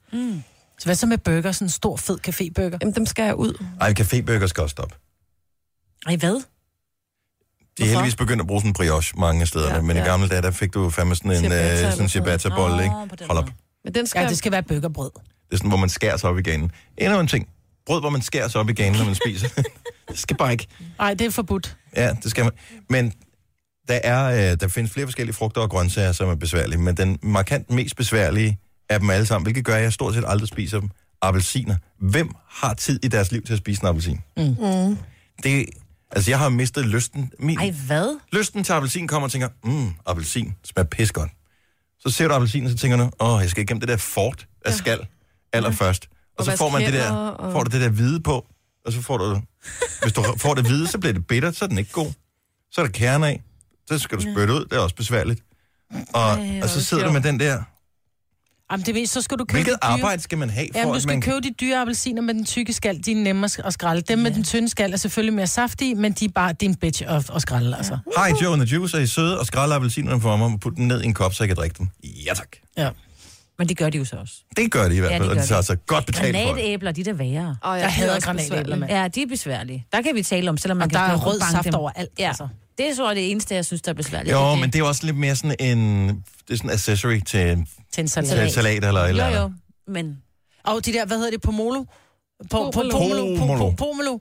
Så hvad så med burger? Sådan en stor, fed cafébøger.
Jamen, dem skal jeg ud.
Ej, cafébøger skal også stoppe.
Ej, hvad?
De er heldigvis begyndt at bruge sådan en brioche mange af stederne, ja,
Ja,
men i
ja.
gamle dage, der fik du fandme sådan en
Ciabatta
ciabatta,
eller
sådan en
sådan noget.
ciabatta-bolle, ikke?
Nå, på den
Hold op.
måde.
Men den skal,
Ja, det skal være burgerbrød.
Det er sådan, hvor man skærer sig op i ganen. Endnu en ting. Brød, hvor man skærer sig op i ganen, når man spiser. det skal bare ikke.
Nej, det er forbudt.
Ja, det skal man. Men der, er, øh, der findes flere forskellige frugter og grøntsager, som er besværlige, men den markant mest besværlige af dem alle sammen, hvilket gør, at jeg stort set aldrig spiser dem, appelsiner. Hvem har tid i deres liv til at spise en appelsin? Mm. Det, altså, jeg har mistet lysten. Min,
Ej, hvad?
lysten til appelsin kommer og tænker, mm, appelsin smager pissegodt. Så ser du appelsinen, så tænker du, åh, jeg skal igennem det der fort af skal allerførst. Og,
Og
så får, man det
vaske
der,
hænder, og-
får du det der hvide på, og så får du, hvis du får det hvide, så bliver det bittert, så er den ikke god. Så er der kerner af, så skal du spytte ud, det er også besværligt. Og, og så sidder du med den der,
Jamen, det ved, så skal du købe
hvilket
de dyre-
arbejde skal man have, for
Jamen, du
at
skal
man kan...
købe de dyre appelsiner med den tykke skal, de er nemme at skralde. Dem med den tynde skal er selvfølgelig mere saftige, men de er bare, det er en bitch at, at skralde, altså.
Hej, Joe and the Juice, er I søde, og skrælle appelsinerne for mig, og putte den ned i en kop, så jeg kan drikke dem. Ja tak.
Ja.
Men det gør de jo så også.
Det gør de i hvert
Ja,
fald,
det
ja, de og
gør
de tager
de.
sig godt betalt for det.
Granatæbler, de er da værre.
Åh, ja,
Jeg
det er
hader
også
granatæbler,
besværligt.
mand.
Ja, de er besværlige. Der kan vi tale om, selvom man
Og
kan
der er
gå
rød
banke
saft
dem.
overalt,
Ja.
altså.
Det er så det eneste, jeg synes, der er besværligt.
Jo,
Det-
men det er jo også lidt mere sådan en... Det er sådan en accessory til en
Til en salat.
til en salat eller et eller
Jo,
andet.
jo, men...
Og de der, hvad hedder det, pomolo? Po- po-
Pomelo.
Pomelo. po-
Pomelo.
po- Pomelo.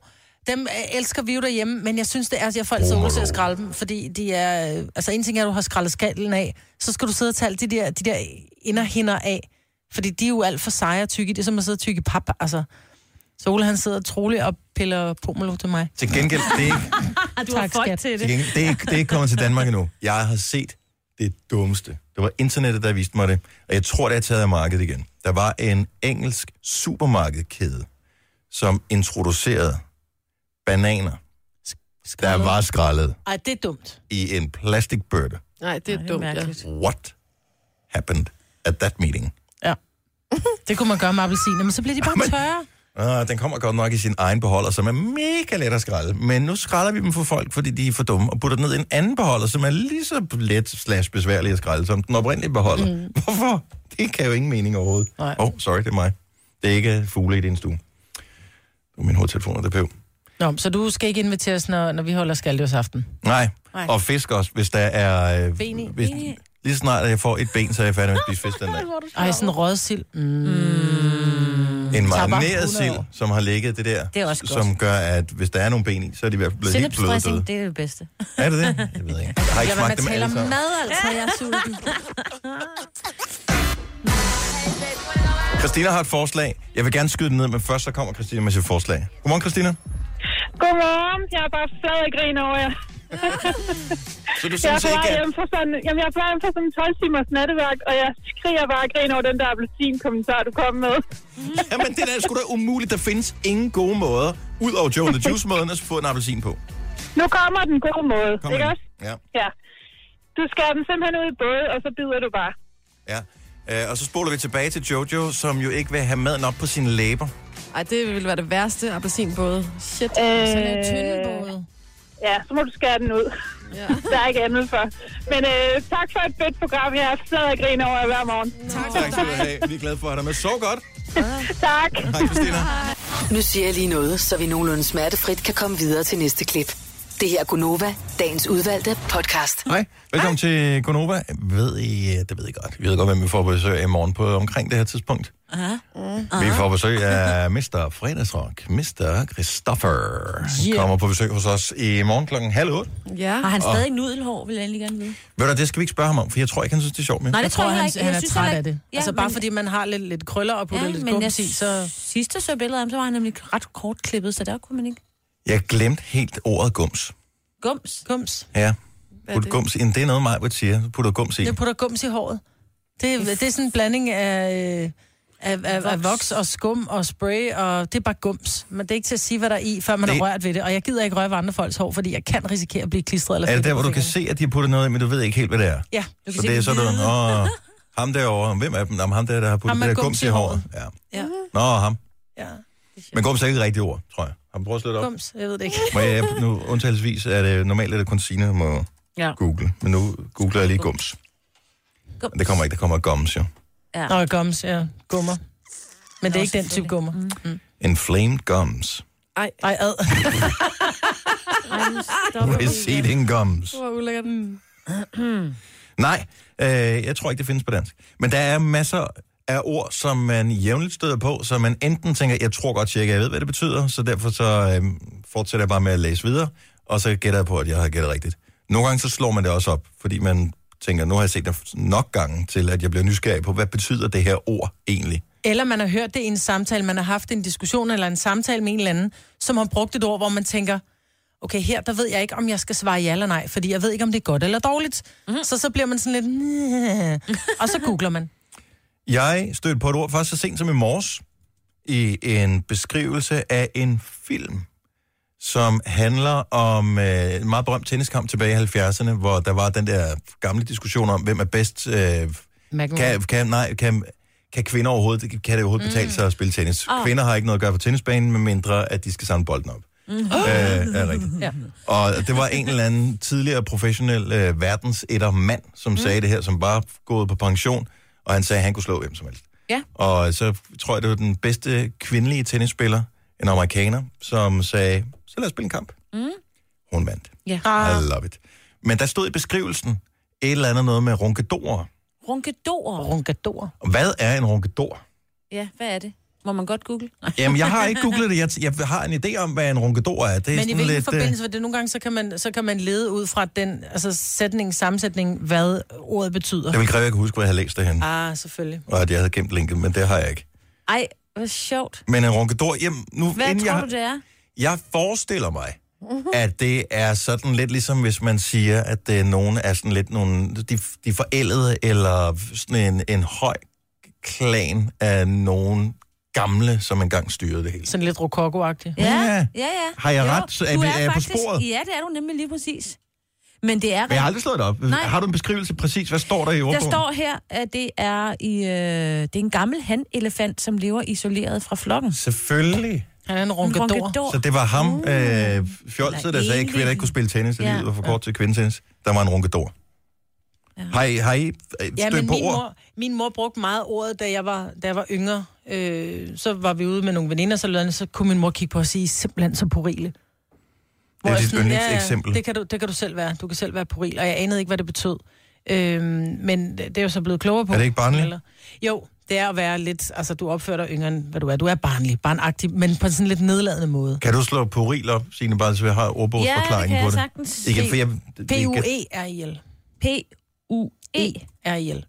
Dem øh, elsker vi jo derhjemme, men jeg synes, det er, at jeg får altid
Pomelo.
ud til at skralde dem, fordi de er... øh, Altså, en ting er, at du har skraldet skallen af, så skal du sidde og tage alle de der, de der inderhinder af, fordi de er jo alt for seje og tykke. Det er som at sidde og tykke pap, altså. Så Ole, han sidder troligt og piller pomelo til mig.
Til gengæld, det er ikke,
Ah, du
har folk
til
til gengæld, det er ikke, det er ikke kommet til Danmark endnu. Jeg har set det dummeste. Det var internettet, der viste mig det. Og jeg tror, det er taget af markedet igen. Der var en engelsk supermarkedkæde, som introducerede bananer, der var skrællet
Ej, det er dumt.
i en plastikbørte.
Nej, det er dumt, ja.
What happened at that meeting?
Ja. Det kunne man gøre med appelsiner, men så bliver de bare tørre.
Ah, den kommer godt nok i sin egen beholder, som er mega let at skralde. Men nu skralder vi dem for folk, fordi de er for dumme, og putter den ned i en anden beholder, som er lige så let slash besværlig at skralde, som den oprindelige beholder. Mm. Hvorfor? Det kan jo ingen mening overhovedet.
Nej.
Oh, sorry, det er mig. Det er ikke øh, fugle i din stue. Det var min hovedtelefon, der pøv.
Nå, så du skal ikke invitere os, når, når vi holder skaldørsaften.
Nej.
Nej.
og fisk også, hvis der er... Øh,
Ben i.
Hvis, lige så snart at jeg får et ben, så er jeg færdig med at spise fisk den dag.
Ej, sådan en rødsild. Mm.
En
bare
marineret
100
sild,
Mm. år.
som har ligget det der,
Det er også
som gør, at hvis der er nogle ben i, så er de i hvert fald blevet helt bløde døde.
Sennepsdressing, det er det bedste.
Er det det? Jeg ved ikke. Jeg har ikke
Jeg vil
smagt dem
tale
alle
om
sammen.
mad, altså. Jeg er sulten.
Christina har et forslag. Jeg vil gerne skyde den ned, men først så kommer Christina med sit forslag. Godmorgen, Christina.
Godmorgen. Jeg er bare flad og griner over jer.
Så du
Jeg er
synes
på
ikke,
vej
at...
hjem fra sådan, jamen, jeg er på vej hjem fra sådan en 12 timers natteværk, og jeg skriger bare og griner over den der appelsin-kommentar, du kom med.
Jamen, det er sgu da umuligt. Der findes ingen gode måder, ud over Joe and the Juice-måden, at få en appelsin på.
Nu kommer den gode måde,
Kom
ikke
med
også?
den. Ja,
Ja. Du skærer den simpelthen ud i både, og så bider du bare.
ja. Øh, og så spoler vi tilbage til Jojo, som jo ikke vil have maden op på sine læber.
Ej, det ville være det værste appelsinbåde. Shit, øh...
Øh.
sådan en tyndebåde.
Ja, så må du skære den ud. Ja. Der er ikke andet for. Men øh, tak for et fedt program. Jeg sidder og griner over jer hver morgen. Tak.
Tak skal du have. Vi er glade for at have dig med. Sov godt.
tak.
Hej, Christina.
Nu siger jeg lige noget, så vi nogenlunde smertefrit kan komme videre til næste klip. Det her er Gunova, dagens udvalgte podcast.
Hej, velkommen Hej. til Gonova. Ved I, øh, det ved I godt. Vi ved godt, hvem vi får besøg af i morgen på omkring det her tidspunkt.
Aha. Mm.
Vi får besøg af Mr. Fredagsrock, Mr. Christopher. Yeah. Kommer på besøg hos os i morgen klokken halv otte.
Ja.
Har han
Og-
stadig nudelhår, vil jeg endelig gerne vide.
Ved du, det skal vi ikke spørge ham om, for jeg tror ikke, han synes, det er sjovt mere.
Nej, det tror jeg
han,
ikke. Jeg
han er
synes
træt
heller
af
ikke-
det.
Ja,
altså bare
men-
fordi man har lidt, lidt krøller og putter ja, lidt
men jeg
gums i, så...
sidste så billeder af ham, så var han nemlig ret kortklippet, så der kunne man ikke...
Jeg glemte helt ordet gums.
Gums.
Gums.
Ja,
Hvad er
put
det?
gums i. Det er noget, Majbert siger. Du putter gums i.
Jeg putter gums i håret. Det, er- det er sådan en blanding af, øh, af, af, af voks og skum og spray, og det er bare gums. Men det er ikke til at sige, hvad der er i, før man
Det-
har rørt ved det. Og jeg gider ikke røre ved andre folks hår, fordi jeg kan risikere at blive klistret eller
Er det
fedtet
der,
på
hvor du kan
fingrene.
se, at de har puttet noget i, men du ved ikke helt, hvad det er?
Ja.
Du kan
Så
se
det er
den
sådan,
hvide.
åh, ham derovre, hvem er dem? Jamen, ham der, der har puttet
Ham
det
med
der gums i håret. Ja.
Ja.
Nå, ham.
ja.
Men gums er ikke et rigtigt ord, tror jeg. Har du prøvet at slå det op?
Gums, jeg ved det ikke.
Må jeg, nu undtagelsesvis er det normalt, er det kun Signe, der må
Ja.
google. Men nu googler jeg lige gums.
Gums.
Det kommer ikke, der kommer gums jo.
Ja.
Nå, gums, ja. Gummer. Men det er ikke den type gummer. Mm.
Inflamed gums.
Ej,
Ej, ad.
Receding gums.
hvor ulækkert. Mm.
Nej, øh, jeg tror ikke, det findes på dansk. Men der er masser af ord, som man jævnligt støder på, så man enten tænker, jeg tror godt cirka, jeg ved, hvad det betyder, så derfor så øh, fortsætter jeg bare med at læse videre, og så gætter jeg på, at jeg har gættet rigtigt. Nogle gange så slår man det også op, fordi man tænker, nu har jeg set det nok gange til, at jeg bliver nysgerrig på, hvad betyder det her ord egentlig?
Eller man har hørt det i en samtale, man har haft en diskussion eller en samtale med en eller anden, som har brugt et ord, hvor man tænker, okay, her der ved jeg ikke, om jeg skal svare ja eller nej, fordi jeg ved ikke, om det er godt eller dårligt. Mm-hmm. Så så bliver man sådan lidt... "Næh." Og så googler man.
Jeg stødte på et ord først så sent som i morges i en beskrivelse af en film, som handler om øh, en meget berømt tenniskamp tilbage i 70'erne, hvor der var den der gamle diskussion om, hvem er bedst... Øh,
McEnroe.
kan, kan, nej, kan, kan kvinder overhovedet, kan det overhovedet betale sig at spille tennis? Oh. Kvinder har ikke noget at gøre på tennisbanen, medmindre at de skal samle bolden op. Mm. Øh, er rigtigt.
Ja.
Og det var en eller anden tidligere professionel øh, verdens etter mand, som mm. sagde det her, som bare gået på pension, og han sagde, at han kunne slå hvem som helst.
Ja.
Og så tror jeg, det var den bedste kvindelige tennisspiller, en amerikaner, som sagde, så lad os spille en kamp. Mm. Hun vandt.
Ja.
Ah.
I love it. Men der stod i beskrivelsen et eller andet noget med runkedorer.
Runkedorer.
Rungador.
Og Hvad er en runkedor?
Ja, hvad er det? Må man godt google? Nej.
Jamen, jeg har ikke googlet det. Jeg, jeg har en idé om, hvad en runkedor er. Det er
Men i
sådan
hvilken
lidt, øh,
forbindelse, for det nogle gange, så kan, man, så kan man lede ud fra den altså sætning, sammensætning, hvad ordet betyder.
Det ville kræve, at jeg kunne huske, hvor jeg havde læst det hen.
Ah, selvfølgelig.
Og at jeg havde gemt linket, men det har jeg ikke.
Ej, hvor sjovt.
Men en runkedor, jamen, nu,
Hvad
inden
tror
jeg,
jeg... du, det er?
Jeg forestiller mig, at det er sådan lidt ligesom, hvis man siger, at øh, nogen er sådan lidt nogle, de, de er forældede, eller sådan en, en høj klan af nogen gamle, som engang styrede det hele. øh,
Sådan lidt rokoko -agtigt.
Ja,
Ja.
ja, ja.
Har jeg
Jo,
ret? Så er
du
vi- er jeg på
faktisk-
sporet?
Ja, det er du nemlig lige præcis. Men det er
Men jeg har aldrig slået det op.
Nej.
Har du en beskrivelse præcis? Hvad står der i
Der
ordbogen?
står her, at det er, i, øh, det er en gammel handelefant, som lever isoleret fra flokken.
Selvfølgelig.
Han er en
En
rungador.
Så det var ham, øh, fjolset,
Eller
der sagde, at kvinder
Elin.
ikke kunne spille tennis, og
Ja.
livet var for kort til kvindetennis. Der var en runkedor. Ja. Har I, har I øh, stødt
Ja, men
på
min
ord?
mor, min mor brugte meget ordet, da jeg var, da jeg var yngre. Øh, så var vi ude med nogle veninder, så, lødende, så kunne min mor kigge på og sige, "I er simpelthen så purile. Hvor
Det er
jeg
dit
sådan, ja, ja,
yndlingseksempel.
Det kan, du, det kan du selv være. Du kan selv være puril. Og jeg anede ikke, hvad det betød. Øhm, men det er jo så blevet klogere på.
Er det ikke barnligt?
Eller- Jo, det er at være lidt... Altså, du opfører dig yngre, end hvad du er. Du er barnlig, barnagtig, men på en sådan lidt nedladende måde.
Kan du slå puril op, Signe, bare så jeg har ordbogsforklaringen
Ja, det kan
på
jeg
det?
sagtens
Igen,
se.
for jeg, igen,
P-U-E-R-I-L.
E.
E
P-U-E.
E-R-I-L.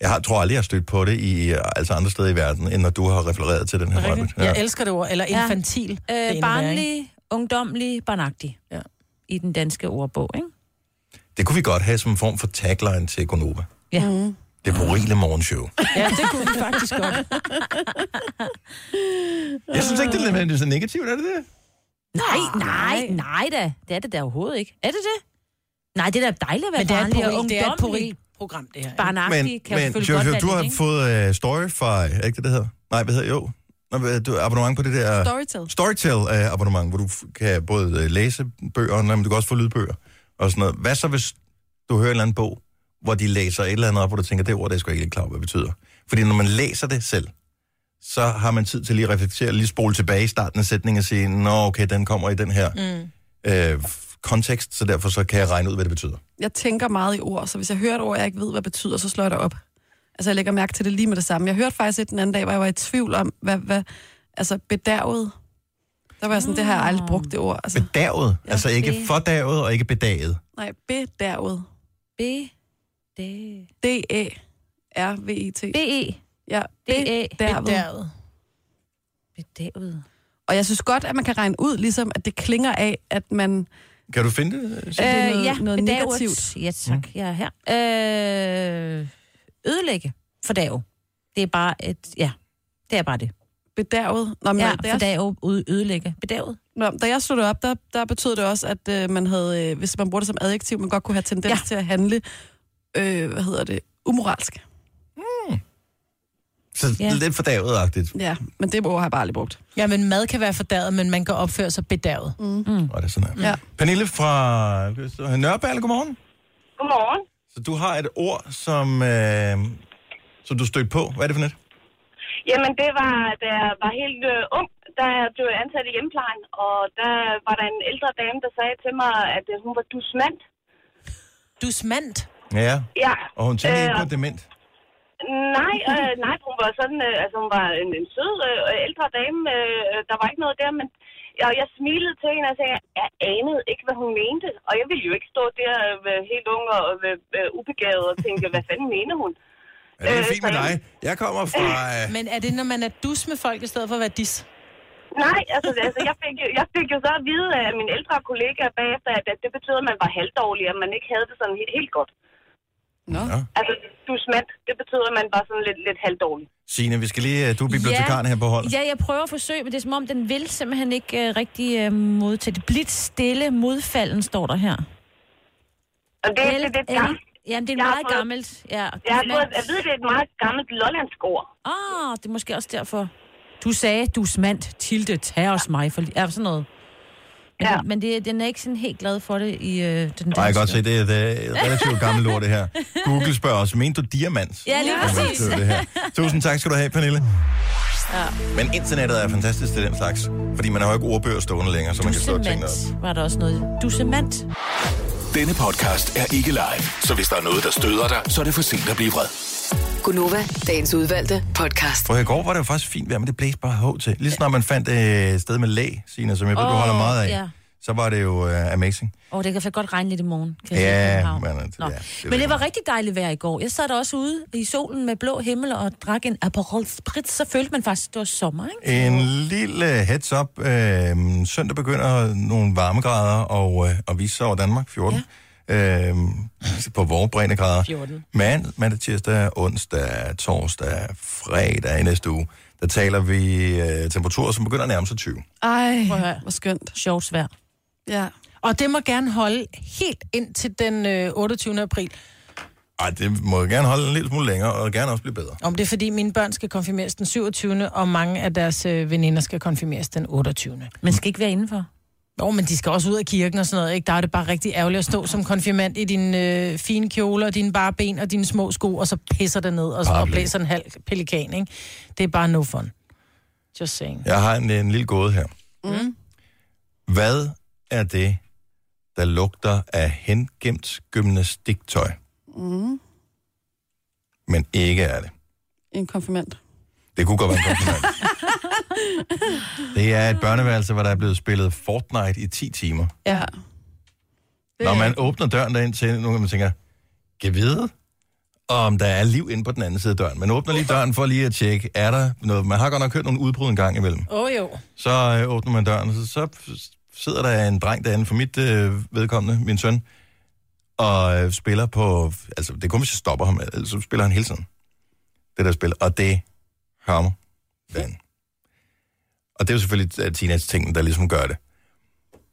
jeg har, tror aldrig, jeg har stødt på det i øh, altså andre steder i verden, end når du har refereret til den her rømme.
Rigtigt? Jeg elsker det ord. Eller infantil. Det er endnu
Øh,
værre, ikke?
barnlig, ungdomlig, barnagtig.
Ja.
I den danske ordbog, ikke?
Det kunne vi godt have som en form for tagline til Gonova.
Ja.
Det purile morgenshow.
Ja, det kunne vi faktisk godt.
Jeg synes ikke, det er
Ah.
nødvendigvis så negativt, er det det?
Nej,
Ah,
nej, nej da. Det er det da overhovedet ikke. Er det det? Nej, det er da dejligt at være
Men det er et
barnlig og
puril, det er et
ungdommelig.
puril, program, det her.
Barnagtig
men,
kan
men
selvfølgelig
Jojo,
godt
du
være
har
lidt, ikke?
fået uh, Storyfy, er ikke det, det hedder? Nej, hvad hedder jo? Nå, hvad- Du har abonnement på det der...
Storytel.
Storytel-abonnement, hvor du f- kan både øh, læse bøger, men du kan også få lydbøger og sådan noget. Hvad så, hvis du hører en eller anden bog, hvor de læser et eller andet op, hvor du tænker, det ord, det er jeg sgu ikke helt klar over, hvad det betyder. Fordi når man læser det selv, så har man tid til lige at reflektere, lige spole tilbage i starten af sætningen og sige, nå okay, den kommer i den her
Mm.
øh, kontekst, så derfor så kan jeg regne ud, hvad det betyder.
Jeg tænker meget i ord, så hvis jeg hører et ord, jeg ikke ved, hvad det betyder, så slår jeg det op. Altså, jeg lægger mærke til det lige med det samme. Jeg hørte faktisk et den anden dag, hvor jeg var i tvivl om, hvad, hvad altså, bedærvet. Der var jeg sådan, det har jeg aldrig brugt det ord. Altså,
Bedavet, ja, altså ikke
det-
fordavet og ikke bedaget.
nej, bedærvet.
B. D.
D-E-R-V-I-T.
B. E.
Ja,
D-A.
E. bedærvet.
Bedavet.
Og jeg synes godt, at man kan regne ud, ligesom, at det klinger af, at man...
Kan du finde det?
Så det er noget-
Øh, ja,
noget
bedavet.
negativt.
Ja,
Mm.
tak. Jeg er her. Øh, ødelægge. Fordave. Det er bare et... Ja, det er bare det.
Bedærvet. Nå, men
Ja,
da, jeg,
fordave, ude- ødelægge. Bedavet.
nå, da jeg slog det op, der, der betød det også, at øh, man havde, øh, hvis man bruger det som adjektiv, man godt kunne have tendens
Ja.
ja. til at handle, øh, hvad hedder det, umoralsk.
Så
Ja.
ja. lidt fordavet-agtigt.
Ja, men det ord har jeg bare aldrig brugt.
Ja, men mad kan være fordavet, men man kan opføre sig bedavet.
Mm.
Mm.
Var det sådan her.
Ja.
Pernille fra øh, Nørreballe, godmorgen.
Godmorgen.
Så du har et ord, som, øh, som du stødte på. Hvad er det for net?
Jamen, det var, da jeg var helt øh, ung, der blev jeg ansat i hjemmeplejen, og der var der en ældre dame, der sagde til mig, at øh, hun var dusmand.
Du smandt.
Ja,
Ja.
og hun tænkte
Øh,
ikke på dement.
Nej, øh, nej, hun var sådan, øh, altså hun var en, en sød øh, ældre dame, øh, øh, der var ikke noget der, men og jeg smilede til hende og sagde, at jeg anede ikke, hvad hun mente. Og jeg ville jo ikke stå der øh, helt ung og øh, øh, ubegavet og tænke, hvad fanden mener hun?
Ja, det er
øh,
fint med
så-
dig. Jeg kommer fra... Øh,
Men er det, når man er dus med folk, i stedet for at være dis?
Nej, altså, altså jeg, fik, jo- jeg fik jo så at vide af mine ældre kollegaer bagefter, at at det betød, at man var halvdårlig, og man ikke havde det sådan helt, helt godt.
Nå.
Ja.
Altså, du smat, det betød, at man var sådan lidt, lidt halvdårlig.
Signe, vi skal lige... øh, Du er bibliotekaren her på holdet.
Ja, jeg prøver at forsøge, men det er som om, den vil simpelthen ikke øh, rigtig øh, modtage det. Blidt stille modfalden, står der her.
Og det, det, det, det,
L-
jeg,
Ja, men det er
Jeg har
meget
fået-
gammelt. Ja,
jeg, har
men-
fået, jeg ved, det er et meget gammelt lollandsk ord.
Ah, det er måske også derfor. Du sagde, du smandt, Tilde, tag os mig for li-" Ja, sådan noget. Men,
Ja.
ja. men det, den er ikke sådan helt glad for det i øh, den danske.
Nej, jeg kan godt se, det er det er relativt gammelt ord, det her. Google spørger også, mente du diamant?
Ja, lige præcis.
Det er det her. Tusind tak skal du have, Pernille. Ja. Men internettet er fantastisk til den slags, fordi man har jo ikke ordbøger stående længere, så man kan stå og tænke noget.
Dussemand var der også noget. Dussemand.
Denne podcast er ikke live, så hvis der er noget, der støder dig, så er det for sent at blive vred.
Gunova, dagens udvalgte podcast.
For i går var det jo faktisk fint vejr, men det blæste bare hårdt til. Lige snart man fandt øh, et sted med læ, Signe, som jeg ved, du
Åh,
holder meget af,
ja.
så var det jo øh, amazing.
Åh, oh, det kan faktisk godt regne lidt i morgen. Kan
Ja,
jeg se i København.
men, øh, det-
Nå.
ja, det ved
men
jeg
det var rigtig dejligt vejr i går. Jeg sad der også ude i solen med blå himmel og drak en Aperol Spritz, så følte man faktisk, at det var sommer, ikke?
En lille heads up. Øh, søndag begynder nogle varmegrader og, øh, og vise sig over Danmark, 14. Ja. Øh, på vores breddegrader.
14.
Mand, mandag, tirsdag, onsdag, torsdag, fredag i næste uge, der taler vi øh, temperaturer, som begynder at nærme sig 20.
Ej,
at høre.
hvor skønt.
Sjovt vejr.
Ja.
Og det må gerne holde helt ind til den øh, 28. april.
Ej, det må gerne holde en lille smule længere, og gerne også blive bedre.
Om det er, fordi mine børn skal konfirmeres den 27. og mange af deres øh, veninder skal konfirmeres den 28.
Man skal ikke være indenfor.
Nå, men de skal også ud af kirken og sådan noget, ikke? Der er det bare rigtig ærgerligt at stå som konfirmand i dine øh, fine kjoler, dine bare ben og dine små sko, og så pisser det ned og, og
Paraply.
blæser en halv pelikan, ikke? Det er bare no fun. Just saying. Mm.
Jeg har en, en lille gåde her. Mm. Hvad er det, der lugter af hengemt gymnastiktøj,
Mm.
men ikke er det?
En konfirmand.
Det kunne godt være en kompliment. det er et børneværelse, hvor der er blevet spillet Fortnite i 10 timer.
Ja. Det,
Når man åbner døren derind til, nu kan man tænke, kan vide, om der er liv inde på den anden side af døren. Man åbner lige døren for lige at tjekke, er der noget. Man har godt nok hørt nogle udbrud en gang imellem.
Åh oh, jo.
Så øh, åbner man døren, og så, så sidder der en dreng derinde for mit øh, vedkommende, min søn, og øh, spiller på... Altså, det er kun, hvis jeg stopper ham, ellers så spiller han hele tiden. Det der spil, og det hammer den. Og det er jo selvfølgelig øh, teenage-tingen, der ligesom gør det.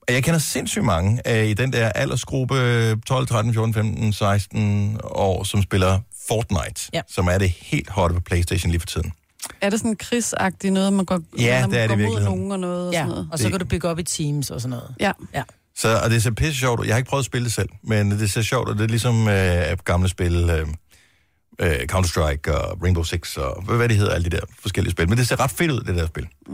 Og Jeg kender sindssygt mange øh, i den der aldersgruppe øh, 12, 13, 14, 15, 16 år, som spiller Fortnite,
Ja.
som er det helt hotte på Playstation lige for tiden.
Er det sådan krigsagtigt noget, man går,
Ja,
man
det er
går
det i
mod
virkeligheden.
nogen og noget? Og
Ja,
sådan noget.
og så kan du bygge op i teams og sådan noget.
Ja.
ja.
Så, og det ser pisse sjovt ud. Jeg har ikke prøvet at spille det selv, men det ser sjovt ud. Det er ligesom øh, gamle spil, øh, øh, Counter-Strike og Rainbow Six og hvad, hvad det hedder, alle de der forskellige spil. Men det ser ret fedt ud, det der spil.
Mm.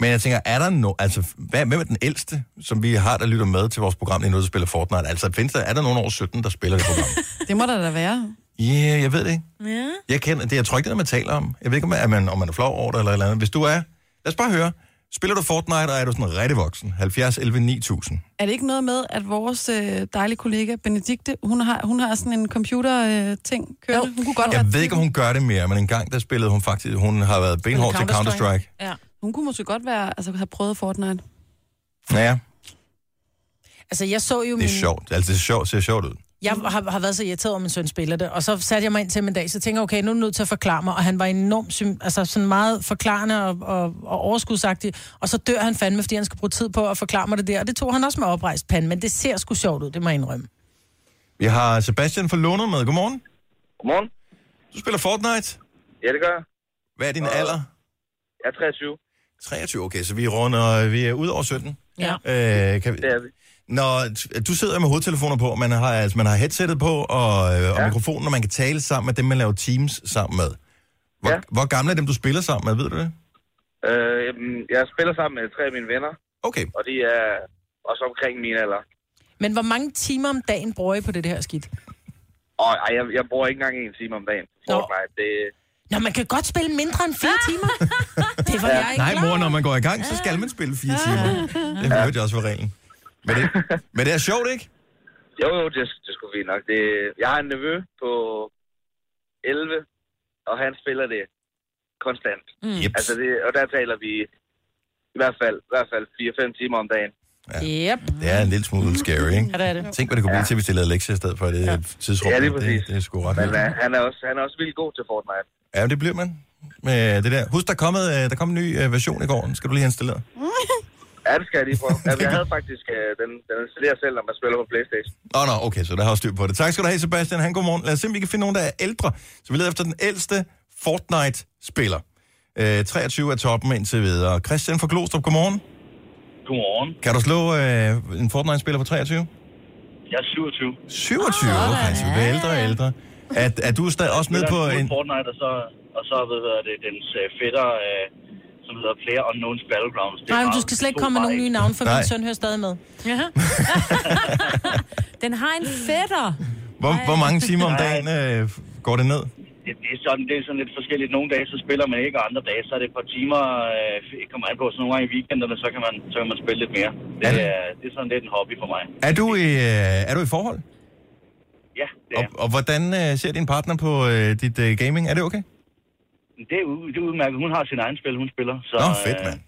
Men jeg tænker, er der no, altså, hvad, hvem er den ældste, som vi har, der lytter med til vores program lige nu, der spiller Fortnite? Altså, findes der, er der nogen over 17, der spiller det program?
Det må der da være.
Ja, yeah, jeg ved det ikke.
Ja.
Jeg, kender, det, jeg tror ikke, det er, man taler om. Jeg ved ikke, om man, er man, om man er flov over det eller et eller andet. Hvis du er, lad os bare høre. Spiller du Fortnite, og er du sådan rigtig voksen? 70, 11, 9000.
Er det ikke noget med, at vores øh, dejlige kollega Benedikte, hun har, hun har sådan en computer-ting øh, ting kørende? Hun kunne godt være
Jeg ved ikke, om hun gør det mere, men en gang der spillede hun faktisk, hun har været benhård til Counter-Strike.
Ja.
Hun kunne måske godt være, altså have prøvet Fortnite.
Ja,
Altså, jeg så jo
det
min...
er sjovt. Altså, det er sjovt, ser sjovt ud.
Jeg har, har været så irriteret over, at min søn spiller det, og så satte jeg mig ind til ham en dag, så tænkte jeg, okay, nu er du nødt til at forklare mig, og han var enormt, sym, altså sådan meget forklarende og, og, og overskudsagtig, og så dør han fandme, fordi han skal bruge tid på at forklare mig det der, og det tog han også med oprejst pande, men det ser sgu sjovt ud, det må jeg indrømme.
Vi har Sebastian fra Lund med. Godmorgen.
Godmorgen.
Du spiller Fortnite?
Ja, det gør jeg.
Hvad er din alder?
Jeg er 23.
23, okay, så vi runder, vi er ud over 17.
Ja.
Øh, kan vi...
Det er vi.
Når t- du sidder med hovedtelefoner på, man har, altså, man har headsettet på og, øh, og mikrofonen, og man kan tale sammen med dem, man laver teams sammen med. Hvor, ja. hvor gamle er dem, du spiller sammen med, ved du det?
Øh, jamen, jeg spiller sammen med tre af mine venner.
Okay.
Og de er også omkring min alder.
Men hvor mange timer om dagen bruger I på det her skidt?
Og ej, jeg, jeg bruger ikke engang en time om dagen. Fortnite, det...
Nå, man kan godt spille mindre end
Ah!
fire timer. Det var jeg ikke
Nej,
klar.
mor, når man går i gang, så skal man spille fire timer. Det hørte jeg også var reglen. Men det, men det er sjovt, ikke?
Jo, jo, det, det skulle vi nok. Det, jeg har en nevø på 11, og han spiller det konstant.
Mm. Jeps.
Altså det, og der taler vi i hvert fald, i hvert fald 4-5 timer om dagen.
Ja. Yep.
Det er en lille smule scary, ikke?
Ja, det er det.
Tænk, hvad det kunne blive til, hvis de lavede lektier i stedet for i det ja. tidsrum.
Ja, lige
det, det er sgu ret
Men
vildt.
øh, han, er også, han er også vildt god til Fortnite.
Ja, men det bliver man. Med det der. Husk, der, er kommet, øh, der kom en ny øh, version i går. Den skal du lige have installeret.
Ja, det skal jeg lige prøve.
Altså,
Jamen, jeg havde faktisk øh, den, den installerer selv, når man spiller på Playstation.
Nå, nå, okay, så der har jeg styr på det. Tak skal du have, Sebastian. Han, godmorgen. Lad os se, om vi kan finde nogen, der er ældre. Så vi leder efter den ældste Fortnite-spiller. Øh, 23 er toppen indtil videre. Christian fra Glostrup, godmorgen.
Godmorgen.
Kan du slå øh, en Fortnite-spiller på 23?
Jeg er 27.
27, oh, altså, vi bliver ældre og ældre. Er, er du stadig også med på en...
Fortnite, og så, og så ved jeg, det er dens øh, fætter, øh, som hedder Player Unknowns Battlegrounds. Det er
Nej, men
bare-
du skal slet ikke
to
komme med
bare
nogle nye
ikke.
navne, for
Nej.
min søn hører stadig med.
Ja. Den har en fætter.
Hvor, hvor mange timer om dagen øh, går det ned?
Det, det, er sådan, det er sådan lidt forskelligt. Nogle dage, så spiller man ikke, og andre dage, så er det et par timer, øh, kommer an på. Så nogle gange i weekenderne, så kan man, så kan man spille lidt mere. Det,
Er
er,
det-
det er sådan lidt en hobby for mig.
Er du i, øh, er du i forhold?
Ja, det
Og,
er.
og hvordan øh, ser din partner på øh, dit øh, gaming? Er det okay?
Det er, u- det er udmærket. Hun har sin egen spil, hun spiller. Så,
Nå, fedt, mand.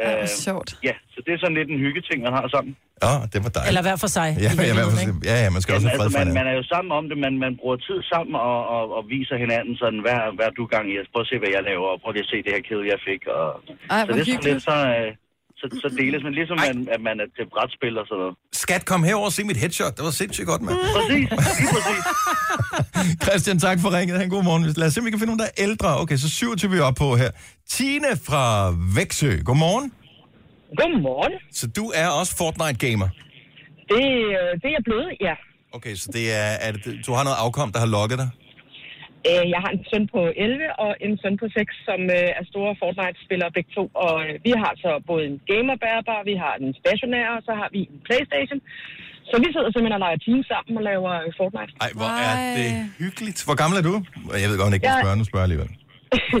Øh, øh, sjovt. Ja, så det er sådan lidt en hyggeting, man har sammen.
Ja, det var dejligt.
Eller hver for sig.
Ja,
i
ja,
virkeligheden,
hver for
ikke?
sig. ja, ja, man skal også have fred
altså,
for
man,
hinanden.
man er jo sammen om det, man, man bruger tid sammen og, og, og viser hinanden sådan, hvad, hvad er du gang i, prøv at se, hvad jeg laver, og prøv lige at se det her kæde, jeg fik. Og,
Ej, hvor
så det er sådan
hyggeligt.
lidt, så, øh, så, så deles man ligesom, man, at man er til brætspil og sådan noget.
Skat, kom herover og se mit headshot. Det var sindssygt godt, mand.
Præcis, lige præcis.
Christian, tak for ringet. Han, god morgen. Lad os se, om vi kan finde nogen, der er ældre. Okay, så 27 vi er oppe på her. Tine fra Vægtsø. Godmorgen.
Godmorgen.
Så du er også Fortnite-gamer.
Det, øh, det er jeg blevet, ja.
Okay, så det er, er det, du har noget afkom, der har lokket dig?
Øh, Jeg har en søn på 11 og en søn på 6, som øh, er store Fortnite-spillere begge to. Og øh, vi har så både en gamerbærbar, vi har den stationære, og så har vi en Playstation. Så vi sidder simpelthen og leger team sammen og laver øh, Fortnite.
Ej, hvor er det hyggeligt. Hvor gammel er du? Jeg ved godt, hun ikke
Jeg-
kan spørge, nu spørger jeg alligevel.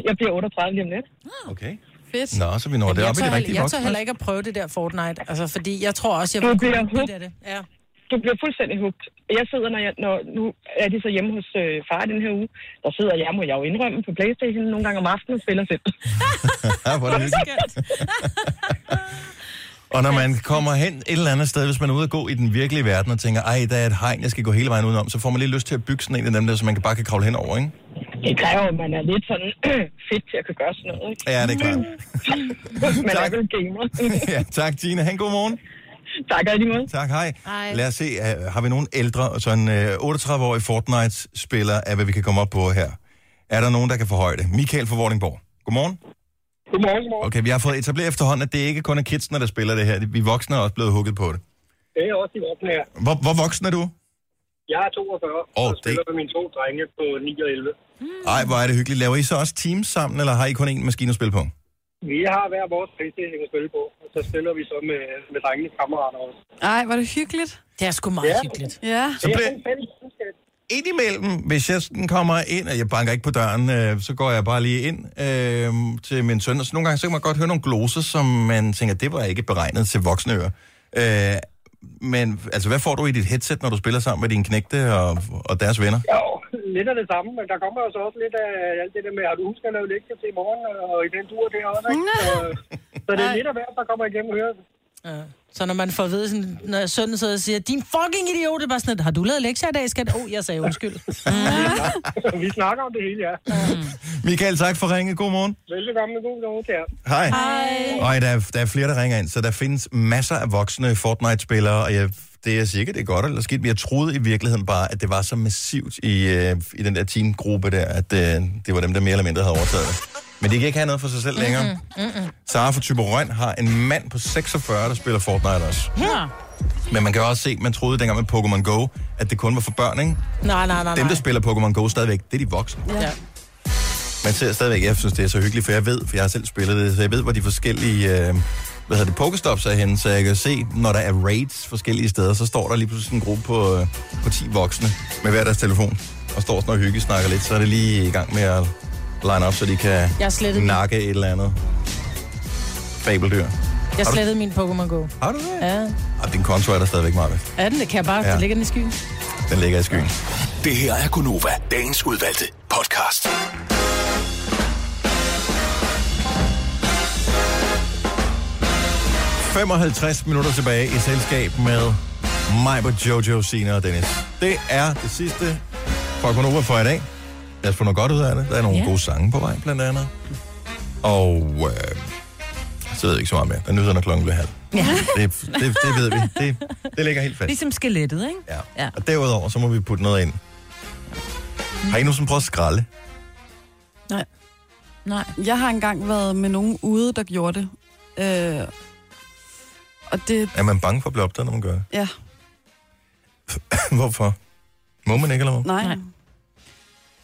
jeg bliver 38 lige om lidt.
Okay.
Fedt.
Nå, så vi når
Jamen,
det
jeg tør
op i det
heller-
rigtige
Jeg
voksne.
tør heller ikke at prøve det der Fortnite, altså, fordi jeg tror også, jeg
Du
vil kunne
bliver
lide
hooked.
det. der. Ja.
Du bliver fuldstændig hugt. Jeg sidder, når, jeg, når nu er de så hjemme hos øh, far den her uge, der sidder jeg, må jeg jo indrømme, på Playstation nogle gange om aftenen og spiller selv.
Ja, hvor er det hyggeligt. Og når man kommer hen et eller andet sted, hvis man er ude at gå i den virkelige verden og tænker, ej, der er et hegn, jeg skal gå hele vejen udenom, så får man lige lyst til at bygge sådan en af dem der, så man kan bare kan kravle hen over, ikke?
Det kræver, at man er lidt sådan fedt til at kunne gøre sådan noget. Ikke?
Ja, det er klart.
man er vel gamer.
ja, tak, Tina. Han, god morgen.
tak, og i lige måde.
Tak, hej.
Hej.
Lad os se, øh, har vi nogen ældre, sådan øh, 38-årige Fortnite-spiller, er hvad vi kan komme op på her. Er der nogen, der kan forhøje det? Michael fra Vordingborg. Godmorgen.
Godmorgen, godmorgen.
Okay, vi har fået etableret efterhånden, at det ikke kun er kidsene, der spiller det her. Vi voksne er også blevet hugget på det.
Det er også i voksne her.
Hvor, hvor voksen er du?
Jeg er 42, og
Åh,
oh,
det-
spiller det... med mine to drenge på 9 og 11.
Ej, hvor er det hyggeligt. Laver I så også teams sammen, eller har I kun én maskine at spille på?
Vi har hver vores PlayStation at spille på, og så spiller vi så med, med drengenes kammerater også.
Ej, var det hyggeligt.
Det er sgu meget
Ja.
hyggeligt.
Ja.
Så bliver- Indimellem, hvis jeg sådan kommer ind, og jeg banker ikke på døren, øh, så går jeg bare lige ind øh, til min søn. Og så nogle gange, så kan man godt høre nogle gloser, som man tænker, det var ikke beregnet til voksne ører. Øh, men altså, hvad får du i dit headset, når du spiller sammen med dine knægte og, og deres venner?
Jo, lidt af det samme, men der kommer jo så også lidt af alt det der med, at du husker at lave lektier til i morgen, og i den tur der også, ikke? Så, så det er lidt af hvert, der kommer igennem høret.
Ja. Så når man får at vide, sådan, når sønnen sidder og siger, din fucking idiot, det er bare sådan, at, har du lavet lektier i dag, skat? Åh, oh, jeg sagde undskyld. mm,
vi snakker om det hele, ja.
Michael, tak for ringet. God morgen.
Velkommen, god morgen til jer.
Hej.
Hej.
Og der, er- der er flere, der ringer ind, så der findes masser af voksne Fortnite-spillere, og jeg, det er sikkert, det er godt eller skidt, men jeg troede i virkeligheden bare, at det var så massivt i, øh, i den der teamgruppe der, at øh, det var dem, der mere eller mindre havde overtaget det. Men de kan ikke have noget for sig selv længere. Mm-hmm.
mm.
Mm-mm.
Sara fra Tyberøn har en mand på 46, der spiller Fortnite også.
Ja.
Men man kan også se, man troede dengang med Pokémon Go, at det kun var for børn, ikke?
Nej, nej, nej,
Dem,
Ah, nej.
der spiller Pokémon Go stadigvæk, det er de voksne.
Ja.
Man ser stadigvæk, jeg synes, det er så hyggeligt, for jeg ved, for jeg har selv spillet det, så jeg ved, hvor de forskellige, øh, hvad hedder det, Pokestops er henne, så jeg kan se, når der er raids forskellige steder, så står der lige pludselig en gruppe på, øh, på 10 voksne med hver deres telefon, og står sådan og hygge snakker lidt, så er det lige i gang med at line op, så de kan
Jeg har slettet den.
nakke et eller andet fabeldyr.
Jeg
Har du-
slettede min Pokémon Go.
Har du det?
Ja.
Ah, din konto er der stadigvæk, Marvind.
Er den? Det kan jeg bare,
Ja.
ja. det ligger den i skyen.
Den ligger i skyen.
Det her er Gunova, dagens udvalgte podcast.
Yes. 55 minutter tilbage i selskab med mig på Jojo, Sina og Dennis. Det er det sidste for Konoba for i dag. Lad os få noget godt ud af det. Der er nogle
Ja.
yeah. gode sange på vej, blandt andet. Og øh, så ved jeg ikke så meget mere. Der nyder, når klokken bliver halv.
Ja.
Det, det, det ved vi. Det, det ligger helt fast.
Ligesom skelettet, ikke?
Ja.
ja.
Og derudover, så må vi putte noget ind. Har I nu som prøvet at skralde?
Nej. Nej. Jeg har engang været med nogen ude, der gjorde det. Øh, og det...
Er man bange for at blive opdaget, når man gør det?
Ja,
Hvorfor? Må man ikke, eller hvad?
nej. nej.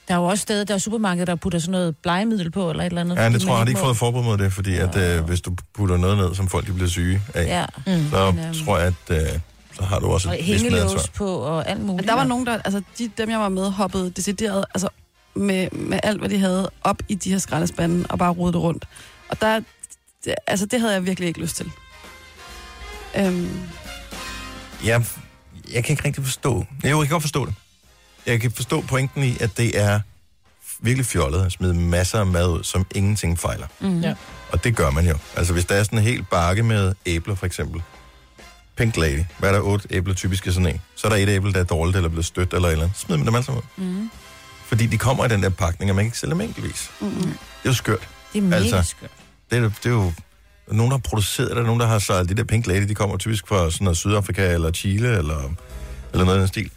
Der er jo også steder, der er supermarkeder, der putter sådan noget blegemiddel på, eller et eller andet.
Ja,
fordi
det tror jeg,
man
har de ikke
må-
fået forbud mod det, fordi at, øh, hvis du putter noget ned, som folk de bliver syge af,
Ja.
mm.
Mm.
så
Men, øhm,
tror jeg, at øh, så har du også
Og
et vist medansvar.
hængelås på, og alt muligt.
Og der var nogen, der, altså de, dem jeg var med, hoppede decideret, altså med, med alt, hvad de havde, op i de her skraldespanden og bare rodede det rundt. Og der, det, altså det havde jeg virkelig ikke lyst til. Øhm,
Jeg, jeg kan ikke rigtig forstå. Jo, jeg kan godt forstå det. Jeg kan forstå pointen i, at det er virkelig fjollet at smide masser af mad ud, som ingenting fejler.
Mm. Ja.
Og det gør man jo. Altså, hvis der er sådan en hel bakke med æbler, for eksempel. Pink Lady. Hvad er der otte æbler typisk i sådan en? Så er der et æble, der er dårligt eller blevet stødt eller et eller andet. Smid dem alle sammen ud.
Mm.
Fordi de kommer i den der pakning, og man kan ikke sælge dem enkeltvis.
Mm-mm.
Det er jo skørt.
Det er mega
Altså,
skørt.
Det er, det er jo nogen, der har produceret det, nogen, der har sejlet de der Pink Lady, de kommer typisk fra sådan noget Sydafrika eller Chile eller, eller noget i den stil.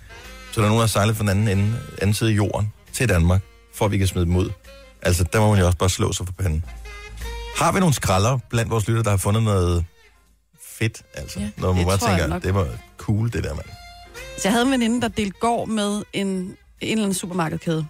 Så der er nogen, der har sejlet fra den anden, ende, anden side af jorden til Danmark, for at vi kan smide dem ud. Altså, der må man jo også bare slå sig for panden. Har vi nogle skralder blandt vores lytter, der har fundet noget fedt, altså? Ja, når man
det
bare
tror jeg
tænker,
nok.
det var cool, det der, mand.
Så jeg havde en veninde, der delte gård med en, en eller anden supermarkedkæde.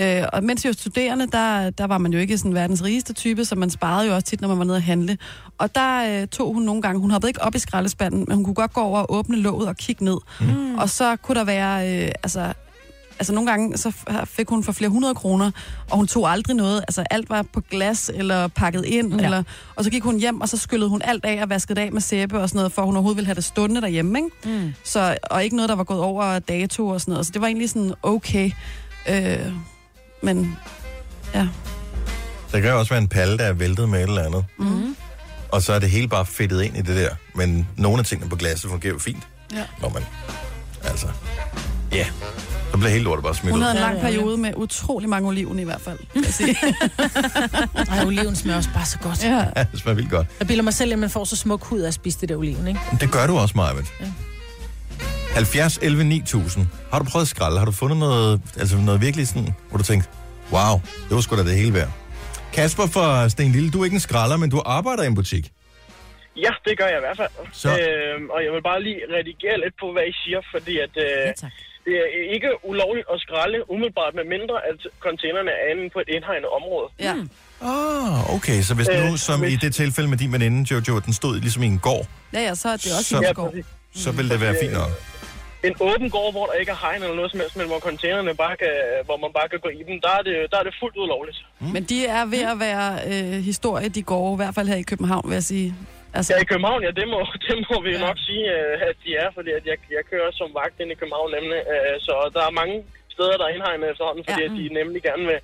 Øh, og mens jeg var studerende, der, der var man jo ikke sådan verdens rigeste type, så man sparede jo også tit, når man var nede at handle. Og der øh, tog hun nogle gange, hun hoppede ikke op i skraldespanden, men hun kunne godt gå over og åbne låget og kigge ned. Mm. Og så kunne der være, øh, altså, altså nogle gange, så f- fik hun for flere hundrede kroner, og hun tog aldrig noget. Altså alt var på glas eller pakket ind, ja. eller, og så gik hun hjem, og så skyllede hun alt af og vaskede det af med sæbe og sådan noget, for hun overhovedet ville have det stående derhjemme, ikke?
Mm.
Så, og ikke noget, der var gået over dato og sådan noget. Så det var egentlig sådan okay. Øh, men ja.
Der kan jo også være en palle, der er væltet med et eller andet.
Mm.
Og så er det hele bare fedtet ind i det der. Men nogle af tingene på glasset fungerer jo fint.
ja.
Når man, altså, ja. Så bliver hele lortet bare smidt
Hun
ud.
havde en lang periode med utrolig mange oliven i hvert fald.
Ej, oliven smager også bare så godt.
Ja.
Ja, det smager vildt godt.
Jeg bilder mig selv, at man får så smuk hud af at spise det der oliven, ikke?
Men Det gør du også, Marvind.
Ja.
Ja. 70, 11, 9000. Har du prøvet at skralde? Har du fundet noget, altså noget virkelig sådan, hvor du tænkte, wow, det var sgu da det hele værd. Kasper fra Sten Lille, du er ikke en skralder, men du arbejder i en butik.
Ja, det gør jeg i hvert fald.
Så-
Øhm, og jeg vil bare lige redigere lidt på, hvad I siger, fordi at, øh, ja, det er ikke ulovligt at skralde umiddelbart, med mindre at containerne er inde på et indhegnet område.
Ja.
Ah, okay, så hvis nu,
Øh,
som i det tilfælde med din veninde, Jojo, at den stod ligesom i en gård,
Ja, ja, så er det også
Så-
i går.
så ville det være fint nok.
En åben gård, hvor der ikke er hegn eller noget som helst, men hvor containerne bare kan, hvor man bare kan gå i dem, der er det, der er det fuldt ud lovligt.
Men de er
Mm.
ved at være øh, historie, de går, i hvert fald her i København, vil jeg sige. Altså,
Ja, i København, ja, det må, det må vi jo nok sige, øh, at de er, fordi at jeg, jeg kører som vagt ind i København nemlig, øh, så der er mange steder, der er indhegnet efterhånden, fordi ja. at de nemlig gerne vil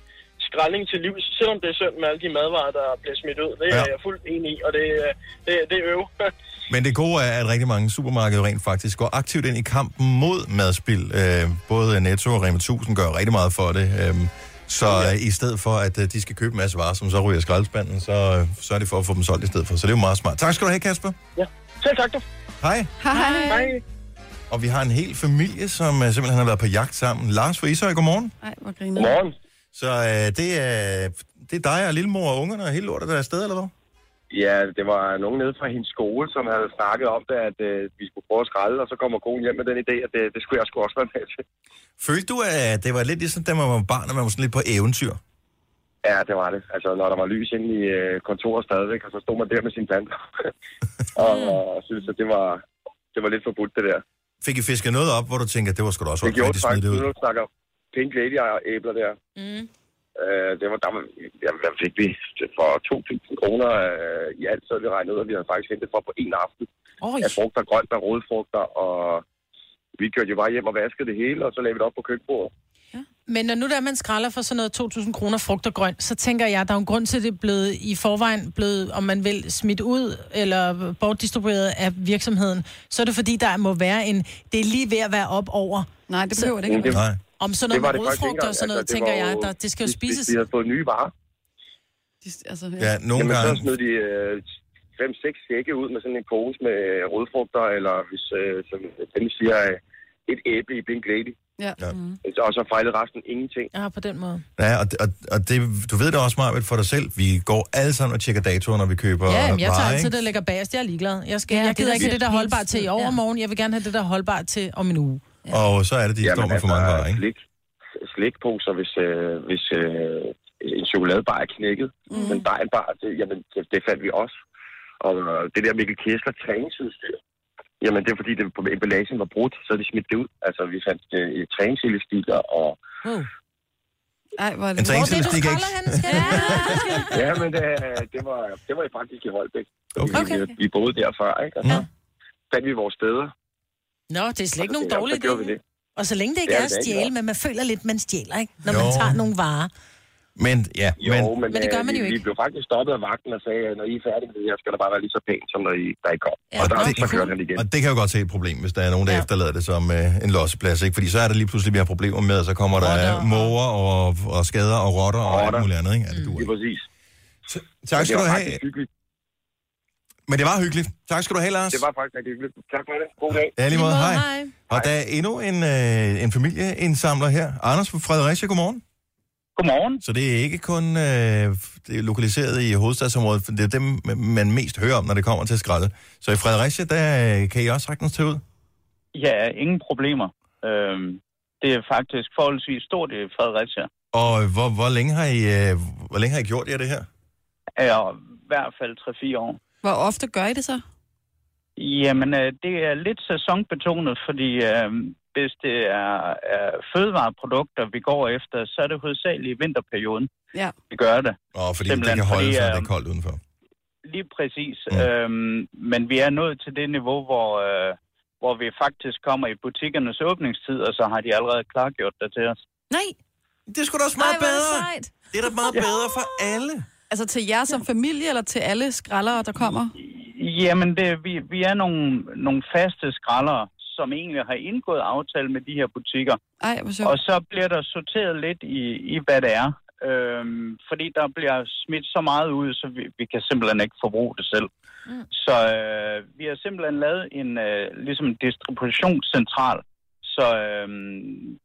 skraldning til livs, selvom det er synd med alle de madvarer, der bliver smidt ud. Det er
Ja.
jeg fuldt enig i, og det, øh, det, det er øv.
Men det gode er, at rigtig mange supermarkeder rent faktisk går aktivt ind i kampen mod madspild. Øh, både Netto og Rema 1000 gør rigtig meget for det. Øh, så ja. i stedet for, at øh, de skal købe en masse varer, som så ryger i skraldespanden, så, øh, så er det for at få dem solgt i stedet for. Så det er jo meget smart. Tak skal du have, Kasper.
Ja, selv tak du.
Hej.
Hej.
Hej.
Og vi har en hel familie, som øh, simpelthen har været på jagt sammen. Lars fra Ishøj, godmorgen.
Ej, hvor griner.
Så øh, det, er, det er dig og lillemor og ungerne og hele lortet, der er afsted, eller hvad?
Ja, det var nogen nede fra hendes skole, som havde snakket om det, at øh, vi skulle prøve at skralde, og så kommer konen hjem med den idé, at det, det skulle jeg sgu også være med til.
Følte du, at det var lidt ligesom, da man var barn, og man var sådan lidt på eventyr?
Ja, det var det. Altså, når der var lys inde i øh, kontoret stadigvæk, og så stod man der med sin planter. og, og synes, at det var, det var lidt forbudt, det der.
Fik I fisket noget op, hvor du tænker, at det var sgu da også
Det gjorde
rigtig
det
smidt
faktisk,
ud?
nu snakker Pink Lady og æbler der.
Mm.
Øh, det var, der, var, jamen, der fik vi for 2.000 kroner øh, i alt, så havde vi regnet ud, at vi havde faktisk hentet for på en aften.
Oj.
Af frugt og grønt og rodfrugter, og vi kørte jo bare hjem og vaskede det hele, og så lavede vi det op på køkkenbordet.
Men når nu der man skralder for sådan noget 2.000 kroner frugt og grønt, så tænker jeg, der er jo en grund til, at det er blevet i forvejen blevet, om man vil, smidt ud eller bortdistribueret af virksomheden. Så er det fordi, der må være en... Det er lige ved at være op over.
Nej, det behøver det
ikke at være. Nej.
Om sådan noget
Det var
med
det faktisk ikke
rodfrugter og sådan
engang. Altså,
noget, altså,
det
tænker
var
jeg,
jo-
der, det skal jo
vi- vi-
spises.
Vi havde fået nye varer.
Altså,
Ja, nogle
Jamen,
gange-
så smed de øh, 5-6 sække ud med sådan en pose med øh, rodfrugter, eller hvis, øh, som dem siger, øh, et æble i Pink Lady.
Ja.
ja.
Og Mm. så fejlede resten ingenting.
Ja, på den måde.
Ja, og, og, og det, du ved det også, Marvind, for dig selv. Vi går alle sammen og tjekker datoer, når vi køber
Ja, jamen, jeg tager
varer,
altid
ikke?
det, der ligger bagerst. Jeg er ligeglad. Jeg, skal,
Ja,
ja, jeg
det er
gider
der
ikke
selv
det, der er
hele
holdbart til
tiden,
i
ja.
overmorgen. Jeg vil gerne have det, der er holdbart til om en uge.
Og så er det, de
Jamen,
står med for mange
altså,
varer, ikke?
Slik, slikposer, hvis, øh, hvis øh, en chokoladebar er knækket. Mm. Men der er en bar, det, jamen, det, det fandt vi også. Og øh, det der Mikkel Kessler træningsudstyr, jamen det er fordi, det, emballagen var brudt, så de smidt det ud. Altså, vi fandt øh, træningselastikker og...
Wow.
Ej, hvor er det.
En
Hvor er det, du
træningselastik er ikke-
skralder henne, skal jeg?
ja, men det, det, var, det var faktisk i Holbæk. Okay. Vi, vi, vi boede derfra, ikke? Og så
Mm.
fandt vi vores steder.
Nå, det er slet ikke nogen
Ja, så
dårlig
gjorde vi
idé.
det.
Og så længe det ikke
Det er
er at
det da ikke,
stjæle,
nå.
men man føler lidt, man stjæler, ikke? Når
Jo.
man tager nogle varer.
Men, ja,
Jo, men, men,
Men det gør
øh,
man jo
vi,
ikke.
Vi blev faktisk stoppet af vagten og sagde, at når I er færdige med det her, skal der bare være lige så pænt, som når I, da I kom. Ja, og der,
det-
så kørte han igen.
Og det kan jo godt se et problem, hvis der er nogen, der ja. efterlader det som øh, en losseplads, ikke? Fordi så er der lige pludselig, vi har problemer med, og så kommer der måger og, og skader og rotter og alt muligt andet, ikke? Ja, det duer
Lige præcis. det
Tak skal du
var
have.
faktisk hyggeligt.
Men det var hyggeligt. Tak skal du have, Lars.
Det var faktisk rigtig hyggeligt. Tak for det. God dag.
Ja, lige måde. Hej. Og der er endnu en, øh, en familieindsamler her. Anders fra Fredericia, godmorgen.
Godmorgen.
Så det er ikke kun øh, det er lokaliseret i hovedstadsområdet, for det er dem, man mest hører om, når det kommer til skralde. Så i Fredericia, der øh, kan I også sagtens tage ud.
Ja, ingen problemer. Øhm, det er faktisk forholdsvis stort i Fredericia.
Og hvor, hvor, længe har I, øh, hvor længe har I gjort jer det her?
Er i hvert fald 3-4 år.
Hvor ofte gør I det så?
Jamen, øh, det er lidt sæsonbetonet, fordi øh, hvis det er øh, fødevareprodukter, vi går efter, så er det hovedsageligt i vinterperioden,
Ja.
vi gør det. øhm,
Og fordi det kan holde sig, det er koldt udenfor.
Lige præcis. Mm. Øhm, men vi er nået til det niveau, hvor, øh, hvor vi faktisk kommer i butikkernes åbningstid, og så har de allerede klargjort det til os.
Nej.
Det skulle da også
meget Ej, bedre. Sejt.
Det er da meget bedre for alle.
Altså til jer som familie, eller til alle skraldere, der kommer?
Jamen, det, vi, vi er nogle, nogle faste skraldere, så som egentlig har indgået aftale med de her butikker.
Ej, hvor sjovt.
Og så bliver der sorteret lidt i, i hvad det er. Øhm, fordi der bliver smidt så meget ud, så vi, vi kan simpelthen ikke forbruge det selv.
Mm.
Så øh, vi har simpelthen lavet en øh, ligesom en distributionscentral. Så øh,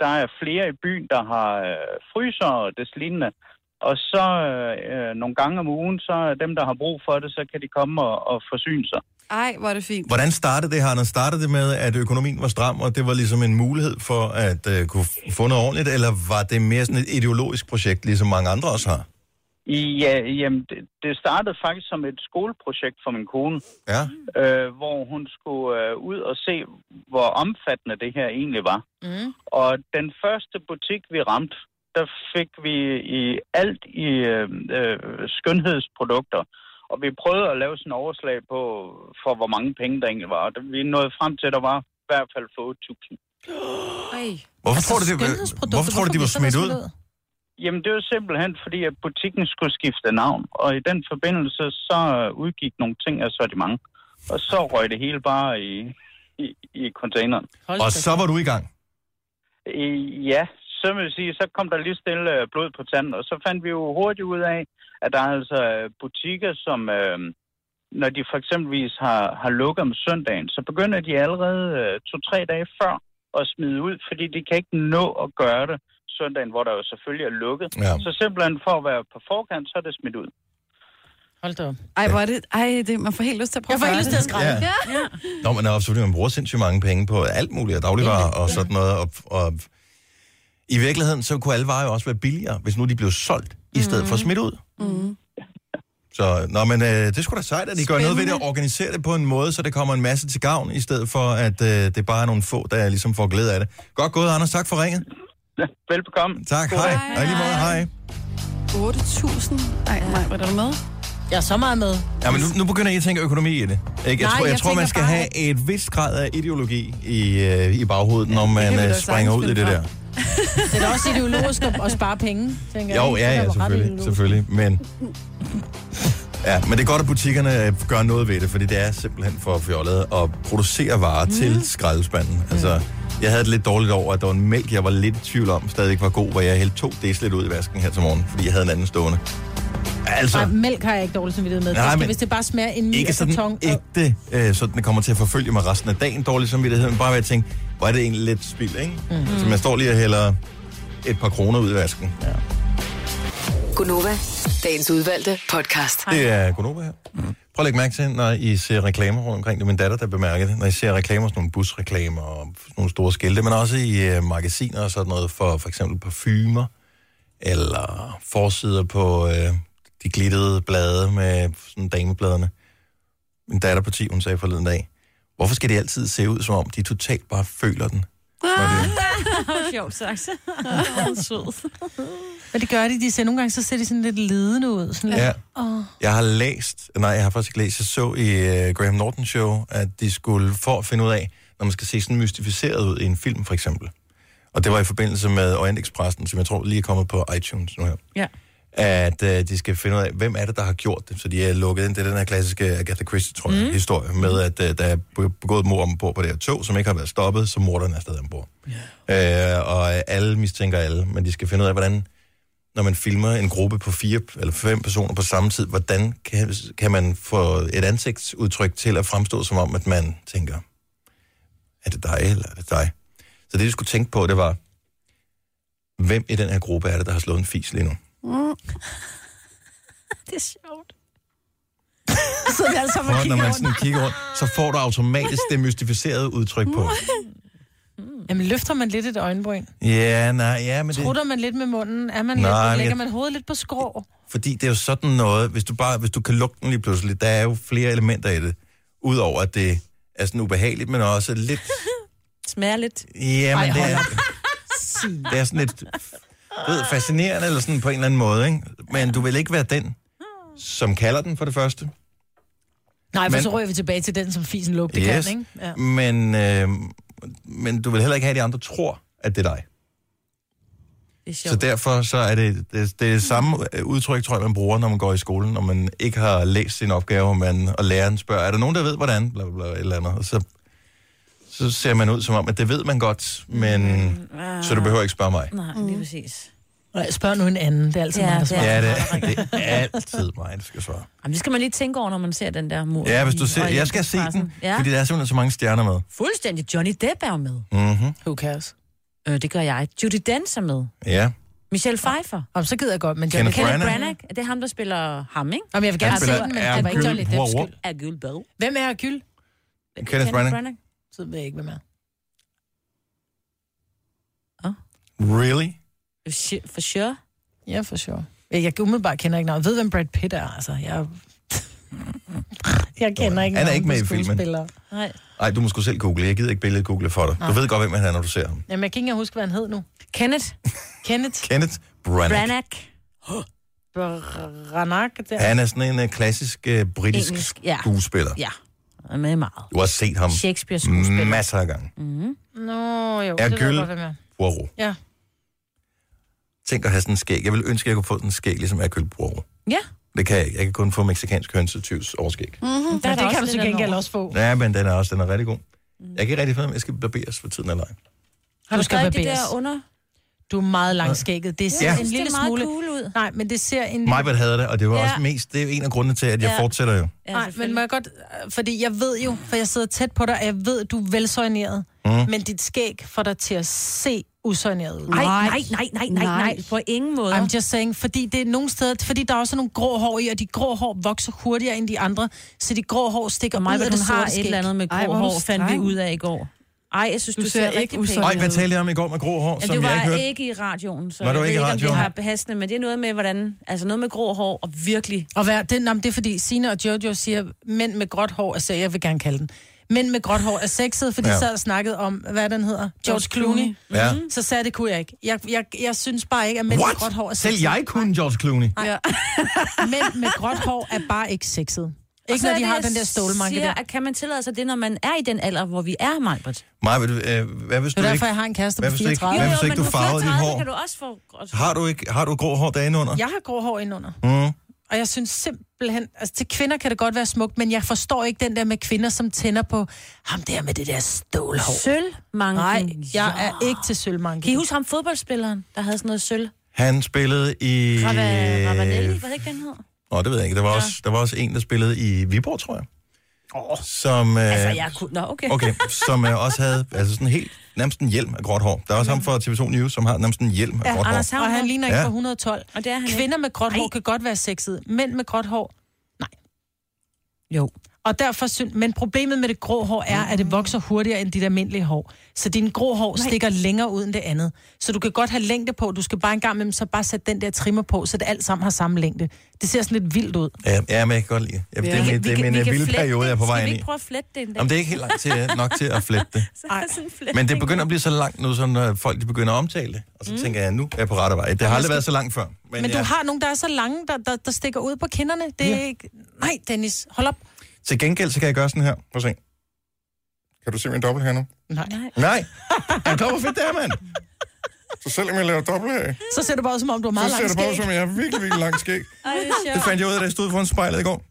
der er flere i byen, der har øh, fryser og des lignende. Og så øh, nogle gange om ugen, så er dem, der har brug for det, så kan de komme og, og forsyne sig.
Ej, hvor er det fint.
Hvordan startede det her? Når startede det med, at økonomien var stram, og det var ligesom en mulighed for at øh, kunne f- få noget ordentligt, eller var det mere sådan et ideologisk projekt, ligesom mange andre også har?
Ja, jamen, det, det startede faktisk som et skoleprojekt for min kone,
ja.
øh, hvor hun skulle øh, ud og se, hvor omfattende det her egentlig var.
Mm.
Og den første butik, vi ramte, der fik vi i alt i øh, øh, skønhedsprodukter. Og vi prøvede at lave sådan en overslag på, for hvor mange penge der egentlig var. Og vi nåede frem til, at der var i hvert fald for 8.000.
Ej. Altså,
Hvorfor tror du, det- hvorfor tror du, de var smidt ud?
Jamen, det var simpelthen fordi, at butikken skulle skifte navn. Og i den forbindelse, så øh, udgik nogle ting af sortiment. Og så røg det hele bare i, i, i containeren.
Og så var du i gang.
Øh, Ja, så vil jeg sige, så kom der lige stille øh, blod på tanden, og så fandt vi jo hurtigt ud af, at der er altså øh, butikker, som øh, når de for eksempelvis har, har lukket om søndagen, så begynder de allerede øh, to-tre dage før at smide ud, fordi de kan ikke nå at gøre det søndagen, hvor der jo selvfølgelig er lukket.
Ja.
Så simpelthen for at være på forkant, så er det smidt ud.
Hold da op.
Ej, hvor er det... Ej, det, man får helt lyst til at prøve
Jeg får helt lyst til at skrælle.
Ja. ja.
Nå, men absolut, man bruger sindssygt mange penge på alt muligt, og dagligvarer og sådan noget. Og, og i virkeligheden, så kunne alle varer jo også være billigere, hvis nu de blev solgt, i stedet for smidt ud.
Mm.
Så, nå, men øh, det er sgu da sejt, at de gør noget ved det og organiserer det på en måde, så det kommer en masse til gavn, i stedet for, at øh, det bare er nogle få, der ligesom får glæde af det. Godt gået, Anders. Tak for ringet.
Velbekomme.
Tak, hej. Hej, hej. Lige måde, hej.
8.000. Ej, nej, var du med?
Jeg er så meget med.
Ja, men nu, nu begynder I at tænke økonomi i det. Ikke? Jeg,
Nej,
tror, jeg,
jeg
tror, man
tænker
skal
bare-
have et vist grad af ideologi i, øh, i baghovedet, når man
kan vi
øh,
da
springer ud i
sagtens
det der.
finde Det er da også ideologisk at, at spare penge, tænker jeg.
Jo,
ikke? Så
ja,
er
ja,
det ret
selvfølgelig,
ideologisk.
selvfølgelig, men... Ja, men det er godt, at butikkerne øh, gør noget ved det, fordi det er simpelthen for fjollet at producere varer
Mhm.
mm. til skraldespanden. Altså, jeg havde det lidt dårligt over, at der var en mælk, jeg var lidt i tvivl om, stadigvæk var god, hvor jeg hældte to deciliter ud i vasken her til morgen, fordi jeg havde en anden stående. Altså,
Nej, mælk har jeg ikke dårlig samvittighed med.
Nej,
Nej,
men-
men... Hvis det bare smager en
ikke
mere
sådan
karton... Ikke...
ægte, øh, sådan det kommer til at forfølge mig resten af dagen, dårlig samvittighed, men bare ved at tænke, hvor er det egentlig lidt spild, ikke?
Mhm.
Mm. Så man står lige og hælder et par kroner ud i vasken. Ja.
Gunova, dagens udvalgte podcast.
Det er Gunova her. Mm. Prøv at lægge mærke til, når I ser reklamer rundt omkring. Det er min datter, der bemærker det. Når I ser reklamer, sådan nogle busreklamer og sådan nogle store skilte, men også i øh, magasiner og sådan noget for for eksempel parfumer, eller forsider på øh, de glittede blade med sådan damebladene. Min datter på 10, hun sagde forleden dag, hvorfor skal de altid se ud, som om de totalt bare føler den?
Ah, sjovt sagt. Sød.
Men det gør de, de ser nogle gange, så ser de sådan lidt lidende ud. Sådan lidt,
Ja.
Åh.
Jeg har læst, nej, jeg har faktisk ikke læst, jeg så i uh, Graham Norton Show, at de skulle for at finde ud af, når man skal se sådan mystificeret ud i en film, for eksempel. Og det var i forbindelse med Orient Expressen, som jeg tror lige er kommet på iTunes nu her.
Ja.
At uh, de skal finde ud af, hvem er det, der har gjort det. Så de er lukket ind. Det er den her klassiske Agatha Christie, tror jeg, mm. historie, med at uh, der er be- begået mor ombord på det her tog, som ikke har været stoppet, så morderen er stadig ombord. Yeah. Uh, og øh, alle mistænker alle, men de skal finde ud af, hvordan når man filmer en gruppe på fire eller fem personer på samme tid, hvordan kan, kan man få et ansigtsudtryk til at fremstå som om, at man tænker, er det dig eller er det dig? Så det, de skulle tænke på, det var, hvem i den her gruppe er det, der har slået en fis lige nu?
Mm. det er sjovt.
Så vi alle sammen
For når man sådan kigger rundt, så får du automatisk det mystificerede udtryk på.
Jamen, løfter man lidt et øjenbryn?
Ja, nej, ja, men det,
Trutter man lidt med munden? Er man
Nej,
lidt,
men
lægger
jeg-
man hovedet lidt på skrå?
fordi det er jo sådan noget, hvis du, bare, hvis du kan lugte den lige pludselig, der er jo flere elementer i det, udover at det er sådan ubehageligt, men også lidt...
Smager lidt.
Ja, men det
hold
er,
op.
det er sådan lidt du ved, fascinerende, eller sådan på en eller anden måde, ikke? Men du vil ikke være den, som kalder den for det første.
Nej, for
Men-
men... så rører vi tilbage til den, som fisen lugter yes. kan, ikke? Ja.
Men, øh, men du vil heller ikke have, at de andre tror, at det er dig.
Det er
Så
sjovt.
derfor så er det det, det er samme udtryk, tror jeg, man bruger, når man går i skolen, når man ikke har læst sin opgave, og man, og læreren spørger, er der nogen, der ved, hvordan? Bla, bla, bla, et eller andet. Og så, så ser man ud som om, at det ved man godt, men
Mm,
så
ah.
du behøver ikke spørge mig.
Nej, lige præcis.
Nej, spørg nu en anden. Det er altid
Ja,
ja, mig, der
det
spørger.
Ja, det, det er altid mig, der skal svare.
Jamen, det skal man lige tænke over, når man ser den der mur.
Ja, hvis du
Og
ser, jeg skal se
Olympisk-pressen.
den,
Ja.
fordi der er simpelthen så mange stjerner med.
Fuldstændig. Johnny Depp er jo med.
Mm-hmm.
Who cares?
Øh, det gør jeg. Judy Dench er med.
Ja.
Michelle Pfeiffer.
Jamen, så gider jeg godt, men
Johnny- Kenneth
Kenneth
Branagh.
Branagh. Det er ham, der spiller ham, ikke?
Jamen, jeg vil gerne
Han
se
spiller
den, men
Ergyl
det var ikke Johnny Depps
Poirot.
skyld.
Hercule Bell.
Hvem er Gyld?
Kenneth Branagh.
Så ved jeg ikke, hvem er.
Really?
For sure?
Ja, for sure. Jeg, jeg umiddelbart kender ikke navnet. Jeg ved, hvem Brad Pitt er, altså. Jeg, jeg kender ikke
Han er
navnet
ikke med
på
i filmen.
skuespillere. Nej.
Nej, du må sgu selv google. Jeg gider ikke billedet google for dig.
Nej.
Du ved godt, hvem han er, når du ser ham.
Jamen, jeg kan ikke engang huske, hvad han hed nu.
Kenneth.
Kenneth.
Kenneth Branagh.
Branagh. Der.
Han er sådan en uh, klassisk uh, britisk Engelsk, ja. skuespiller.
Ja, han er med meget.
Du har set ham
Shakespeare-skuespiller.
masser af gange.
Mhm.
Nå, jo, det ved jeg
Hercule
godt, hvem er.
Poirot.
Ja.
Tænk at have sådan en skæg. Jeg vil ønske, at jeg kunne få sådan en skæg, ligesom Hercule Poirot.
Ja.
Det kan jeg ikke. Jeg kan kun få meksikansk hønsetyvs overskæg.
Mm-hmm,
der er der
der, det kan du
også
til
lidt
gengæld
over.
også få.
Ja, men den er også den er rigtig god. Jeg kan ikke rigtig finde, ud af, om jeg skal barberes for tiden eller ej.
Har du skal
stadig de
barberes.
der under?
Du er meget langskægget. Det ser
Ja.
ja.
Jeg
en
synes,
lille
det er meget
smule...
cool ud.
Nej, men det ser en...
Majbert havde det, og det var
Ja.
ja. også mest... Det er jo en af grundene til, at jeg
Ja.
ja. fortsætter jo.
Ja, Nej, men må jeg godt... øh, Fordi jeg ved jo, for jeg sidder tæt på dig, og jeg ved, at du er velsøgneret. Mm.
Mm.
Men dit skæg får dig til at se usøgneret ud.
Nej, nej, nej, nej, nej, nej, på ingen måde.
I'm just saying, fordi det er nogle steder, fordi der er også nogle grå hår i, og de grå hår vokser hurtigere end de andre, så de grå hår stikker
Mig,
ud af
hvad
det
hun
sorte
har et
skæg.
eller andet med grå
Ej, hvor er du
hår, fandt vi
streng.
ud af i går. Ej, jeg synes, du,
Du
ser,
ser
rigtig
ikke
pæn
usund
ud.
Ej, hvad talte jeg om i går med grå hår,
Ja,
som
du
jeg ikke
var
hørte?
ikke i radioen, så
Var du
jeg
ikke i
ved ikke, om
radioen?
det har behastende, men det er noget med, hvordan, altså noget med grå hår og virkelig...
Og hvad, det, nå, men det er fordi, Sina og Jojo siger, mænd med gråt hår er sexet, jeg vil gerne kalde den. Mænd med gråt hår er sexet, fordi ja.
Ja.
jeg sad og snakkede om, hvad den hedder, George
George
Clooney.
Clooney.
Ja.
Mm. Så sagde jeg, det kunne jeg ikke. Jeg, jeg, jeg synes bare ikke, at mænd med gråt hår er
What?
sexet.
Selv jeg kunne George Clooney.
Ja. mænd med gråt hår er bare ikke sexet. Ikke
så
når
er
de
det,
har
jeg
den der stålmanke
siger,
der.
At kan man tillade sig det, når man er i den alder, hvor vi er, Majbert?
Maja, vil du, øh, hvad hvis
Det er
du
derfor,
ikke...
jeg har en kæreste
Hvad
på
hvis du ikke-
34.
hvad hvis du ikke
men
du farvede dit
34
hår?
kan du også få gråt
Har du, ikke, har du grå hår dagen under?
Jeg har grå hår indenunder.
Mm.
Og jeg synes simpelthen, altså til kvinder kan det godt være smukt, men jeg forstår ikke den der med kvinder, som tænder på ham der med det der stålhår.
Sølvmanken.
Nej, jeg er ikke til sølvmanke.
Kan I huske ham fodboldspilleren, der havde sådan noget sølv?
Han spillede i...
Rava,
Øh.
Ravanelli, var det ikke, den hed?
Nå, det ved jeg ikke. Der var, også, der var også en, der spillede i Viborg, tror jeg. Oh. Som, øh,
Altså, jeg kunne... Nå, okay.
okay, som øh, også havde altså sådan helt, nærmest en hjelm af gråt hår. Der er også ham fra TV2 News, som har nærmest en hjelm af
Ja,
gråt hår.
Anders Havn, og han ligner ikke
Ja.
på 112.
Og det er han
Kvinder med gråt hår kan godt være sexede. Mænd med gråt hår, nej.
Jo.
Og derfor synes, men problemet med det grå hår er, at det vokser hurtigere end dit almindelige hår. Så din grå hår
Nej.
stikker længere ud end det andet. Så du kan godt have længde på, du skal bare en gang imellem så bare sætte den der trimmer på, så det alt sammen har samme længde. Det ser sådan lidt vildt ud.
Ja, ja, men jeg kan godt lide ja, det.
Ja.
Er min, det er min øh, vilde
flette
periode, jeg er på
det.
vej
Skal vi
ind i.
ikke prøve at flette det en dag?
Jamen, det er ikke helt langt til, nok til at flette det.
Så er der sådan en fletning.
Men det begynder at blive så langt nu, så når folk de begynder at omtale det. Og så mm. tænker jeg, nu er jeg på rette vej. Det har aldrig været så langt før.
Men, men
jeg,
du har nogle, der er så lange, der, der, der stikker ud på kinderne. Det er ja. ikke... Nej, Dennis, hold op.
Til gengæld, så kan jeg gøre sådan her. Prøv at se. Kan du se min dobbelt her nu?
Nej.
Nej. Er du klar, hvor fedt det er, mand? Så selvom jeg laver dobbelt her,
Så ser det bare ud, som om du har meget langt skæg.
jeg har virkelig, virkelig lang skæg.
Ej, det er
Det
sjovt.
fandt jeg ud af, da jeg stod foran spejlet i går.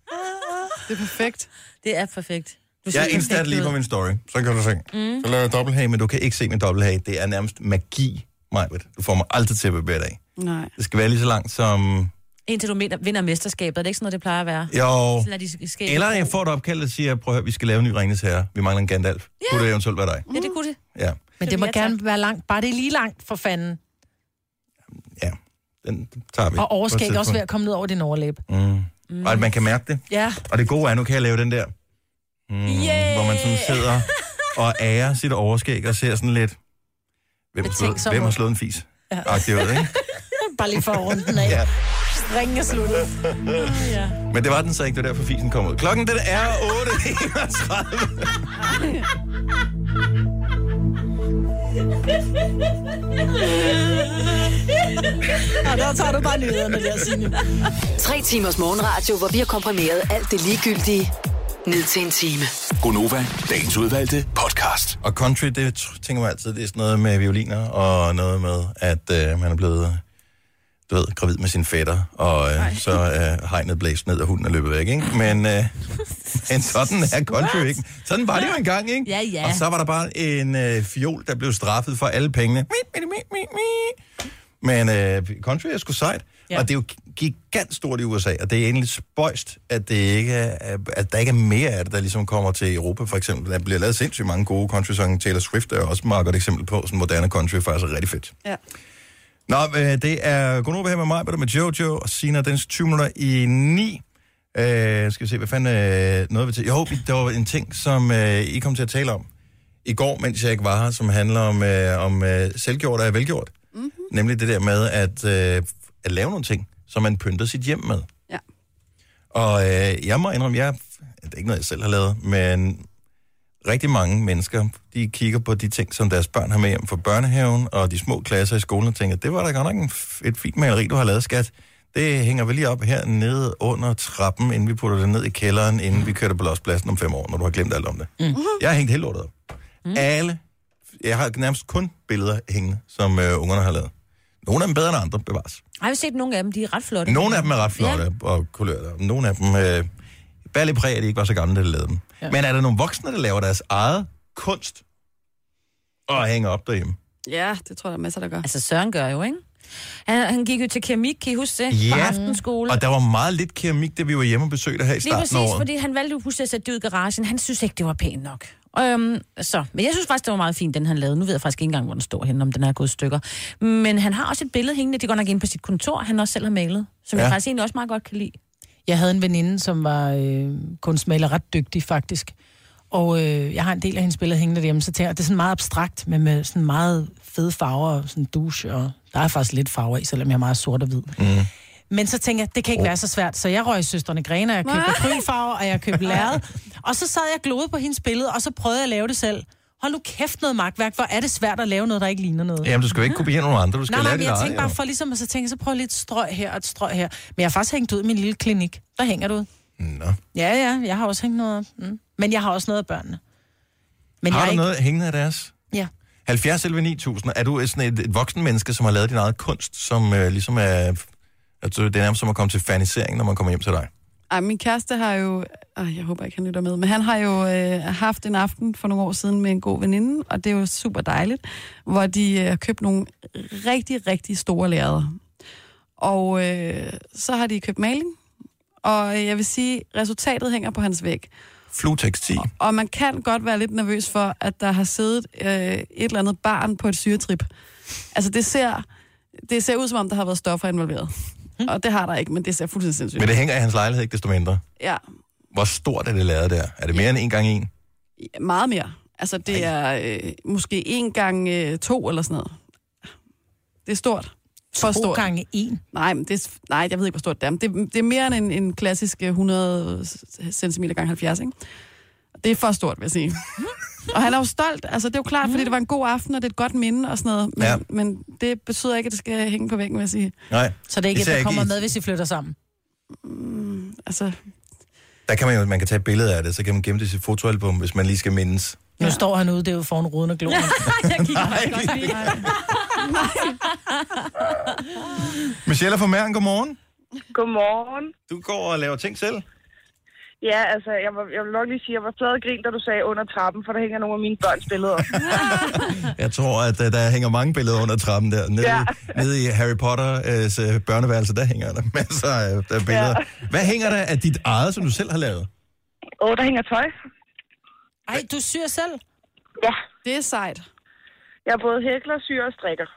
Det er perfekt.
altså- Det er perfekt. Du ser
Jeg instat
perfekt
lige
ud.
på min story. Så kan du se. Mm. Så laver jeg dobbelthage, men du kan ikke se min dobbelthage. Det er nærmest magi, Majbet. Du får mig altid til at bevæge dig.
Nej.
Det skal være lige så langt som...
Indtil du mener- vinder mesterskabet, er det ikke sådan noget, det plejer at være?
Jo.
Sådan er de skæg.
Eller jeg får et opkald, der siger, prøv at høre, vi skal lave en ny Ringnes herre. Vi mangler en Gandalf. Yeah. Kunne det eventuelt være dig?
Ja, det kunne det.
Ja.
Men det må gerne være langt. Bare det er lige langt, for fanden.
Den tager vi.
Og
på
overskæg
et
også ved at
tidspunkt.
komme ned over din overlæb.
Mm. Og at man kan mærke det.
Ja.
Og det gode er, nu kan jeg lave den der, mm, yeah. hvor man sådan sidder og ærer sit overskæg og ser sådan lidt, hvem, har slået,
Betænksom
hvem har
ud.
slået en fis?
Ja.
Ja. Agtigt, ud, ikke?
Bare lige for at runde den af.
Ja.
Ringen er sluttet. Ah, ja.
Men det var den så ikke, det var derfor fisen kom ud. Klokken den er 8.31.
Og der tager du bare nyhederne der, Signe.
Tre timers morgenradio, hvor vi har komprimeret alt det ligegyldige ned til en time.
Gonova, dagens udvalgte podcast. Og country, det t- tænker man altid, det er sådan noget med violiner og noget med, at øh, man er blevet du ved, gravid med sin fætter, og øh, så er øh, hegnet blæst ned, og hunden er løbet væk, ikke? Men øh, en sådan er country, ikke? Sådan var det jo engang, ikke?
Ja, ja.
Og så var der bare en øh, fiol, der blev straffet for alle pengene. Men øh, country er sgu sejt.
Ja.
Ja. Og det er jo gigant stort i USA, og det er egentlig spøjst, at, det ikke er, at der ikke er mere af det, der ligesom kommer til Europa, for eksempel. Der bliver lavet sindssygt mange gode country-sange. Taylor Swift er også et meget godt eksempel på, sådan moderne country er faktisk rigtig fedt.
Ja.
Nå, øh, det er Gunnova her med mig, med Jojo og Sina. Den er 20 minutter i 9. Øh, skal vi se, hvad fanden øh, noget vi til? Jo, der var en ting, som øh, I kom til at tale om i går, mens jeg ikke var her, som handler om, øh, om øh, selvgjort og velgjort. Mm-hmm. Nemlig det der med at, øh, at lave nogle ting, som man pynter sit hjem med.
Ja.
Og øh, jeg må indrømme, jeg, det er ikke noget, jeg selv har lavet, men rigtig mange mennesker, de kigger på de ting, som deres børn har med hjem fra børnehaven, og de små klasser i skolen, og tænker, det var da godt nok en, f- et fint maleri, du har lavet, skat. Det hænger vel lige op her nede under trappen, inden vi putter det ned i kælderen, inden vi kører det på lospladsen om fem år, når du har glemt alt om det.
Mm.
Jeg har hængt helt lortet op. Mm. Alle, jeg har nærmest kun billeder hængende, som øh, ungerne har lavet. Nogle af dem bedre end andre, bevares.
Har vi set nogle af dem? De er ret flotte.
Nogle af dem er ret flotte ja. og kulørte. og Nogle af dem øh, bærer lidt præg, at de ikke var så gamle, da de lavede dem.
Ja.
Ja. Men er der nogle voksne, der laver deres eget kunst og hænger op derhjemme?
Ja, det tror jeg, der er masser, der gør.
Altså Søren gør jo, ikke? Han, han gik jo til keramik, kan I huske det? På aftenskole.
og der var meget lidt keramik, da vi var hjemme og besøgte her i
Lige
starten af
præcis,
året.
fordi han valgte jo pludselig at sætte det ud i garagen. Han synes ikke, det var pænt nok. Øhm, så. Men jeg synes faktisk, det var meget fint, den han lavede. Nu ved jeg faktisk ikke engang, hvor den står henne, om den er gået i stykker. Men han har også et billede hængende, det går nok ind på sit kontor, han også selv har malet, som ja.
Ja.
jeg faktisk egentlig også meget godt kan lide.
Jeg havde en veninde, som var øh, kunstmaler ret dygtig faktisk. Og øh, jeg har en del af hendes billeder hængende derhjemme, så tænker jeg, det er sådan meget abstrakt, men med sådan meget fede farver og sådan douche, og der er faktisk lidt farver i, selvom jeg er meget sort og hvid. Mm. Men så tænkte jeg, det kan ikke være så svært, så jeg røg i søstrene Grene, og jeg købte krylfarver, og jeg købte lærred. Og så sad jeg og gloede på hendes billede, og så prøvede jeg at lave det selv. Hold nu kæft noget magtværk, hvor er det svært at lave noget, der ikke ligner noget.
Jamen, du skal jo ikke kopiere nogen andre, du skal
nej, nej,
lave
men
dit
jeg
eget,
tænkte bare
jo.
for ligesom at så tænke, så prøv lidt strøg her og et strøg her. Men jeg har faktisk hængt ud i min lille klinik. Der hænger du ud.
Nå.
Ja, ja, jeg har også hængt noget op. Mm. Men jeg har også noget af børnene. Men
Men
jeg
har du
er
ikke...
ikke-
noget hængende af deres?
Ja.
70 11 9000. Er du sådan et, et voksen menneske, som har lavet din eget kunst, som øh, ligesom er... Altså, det er nærmest som at komme til fanisering, når man kommer hjem til dig.
Ej, min kæreste har jo... Øh, jeg håber ikke, han lytter med. Men han har jo øh, haft en aften for nogle år siden med en god veninde, og det er jo super dejligt, hvor de øh, har købt nogle rigtig, rigtig store lærreder. Og øh, så har de købt maling, og øh, jeg vil sige, resultatet hænger på hans væg.
Flutex 10.
Og man kan godt være lidt nervøs for, at der har siddet øh, et eller andet barn på et syretrip. Altså, det ser, det ser ud som om, der har været stoffer involveret. Og det har der ikke, men det ser fuldstændig sindssygt
Hmm. Men
ud.
det hænger i hans lejlighed ikke desto mindre.
Ja,
Hvor stort er det lavet der? Er det mere end en gang en?
meget mere. Altså, det er øh, måske en gang øh, to eller sådan noget. Det er stort. For
To gange en?
Nej, men det er, nej, jeg ved ikke, hvor stort det er. Men det, det er mere end en, en klassisk øh, 100 cm gange 70, ikke? Det er for stort, vil jeg sige. og han er jo stolt. Altså, det er jo klart,
Mhm.
fordi det var en god aften, og det er et godt minde og sådan noget. Men, ja.
Ja.
men det betyder ikke, at det skal hænge på væggen, vil jeg sige.
Nej.
Så det er ikke,
Især
at der kommer
i-
med, hvis I flytter sammen.
Mm, altså,
Der kan man jo, man kan tage et billede af det, så kan man gemme det i sit fotoalbum, hvis man lige skal mindes.
nu står han ude derude foran ruden og glor. jeg
kigger
også godt lige.
Michelle fra Mæren, godmorgen.
Godmorgen.
Du går og laver ting selv.
Ja, altså, jeg, var, jeg vil nok lige sige, at jeg var flad og grin, da du sagde under trappen, for der hænger nogle af mine børns billeder.
Jeg tror, at øh, der hænger mange billeder under trappen der. Nede,
Ja.
ja. nede i Harry Potters øh, børneværelse, der hænger der masser af af billeder. Ja. Hvad hænger der af dit eget, som du selv har lavet?
Åh, der hænger tøj.
Ej, du syr selv?
Ja.
Det er sejt.
Jeg er både hækler, syr og strikker.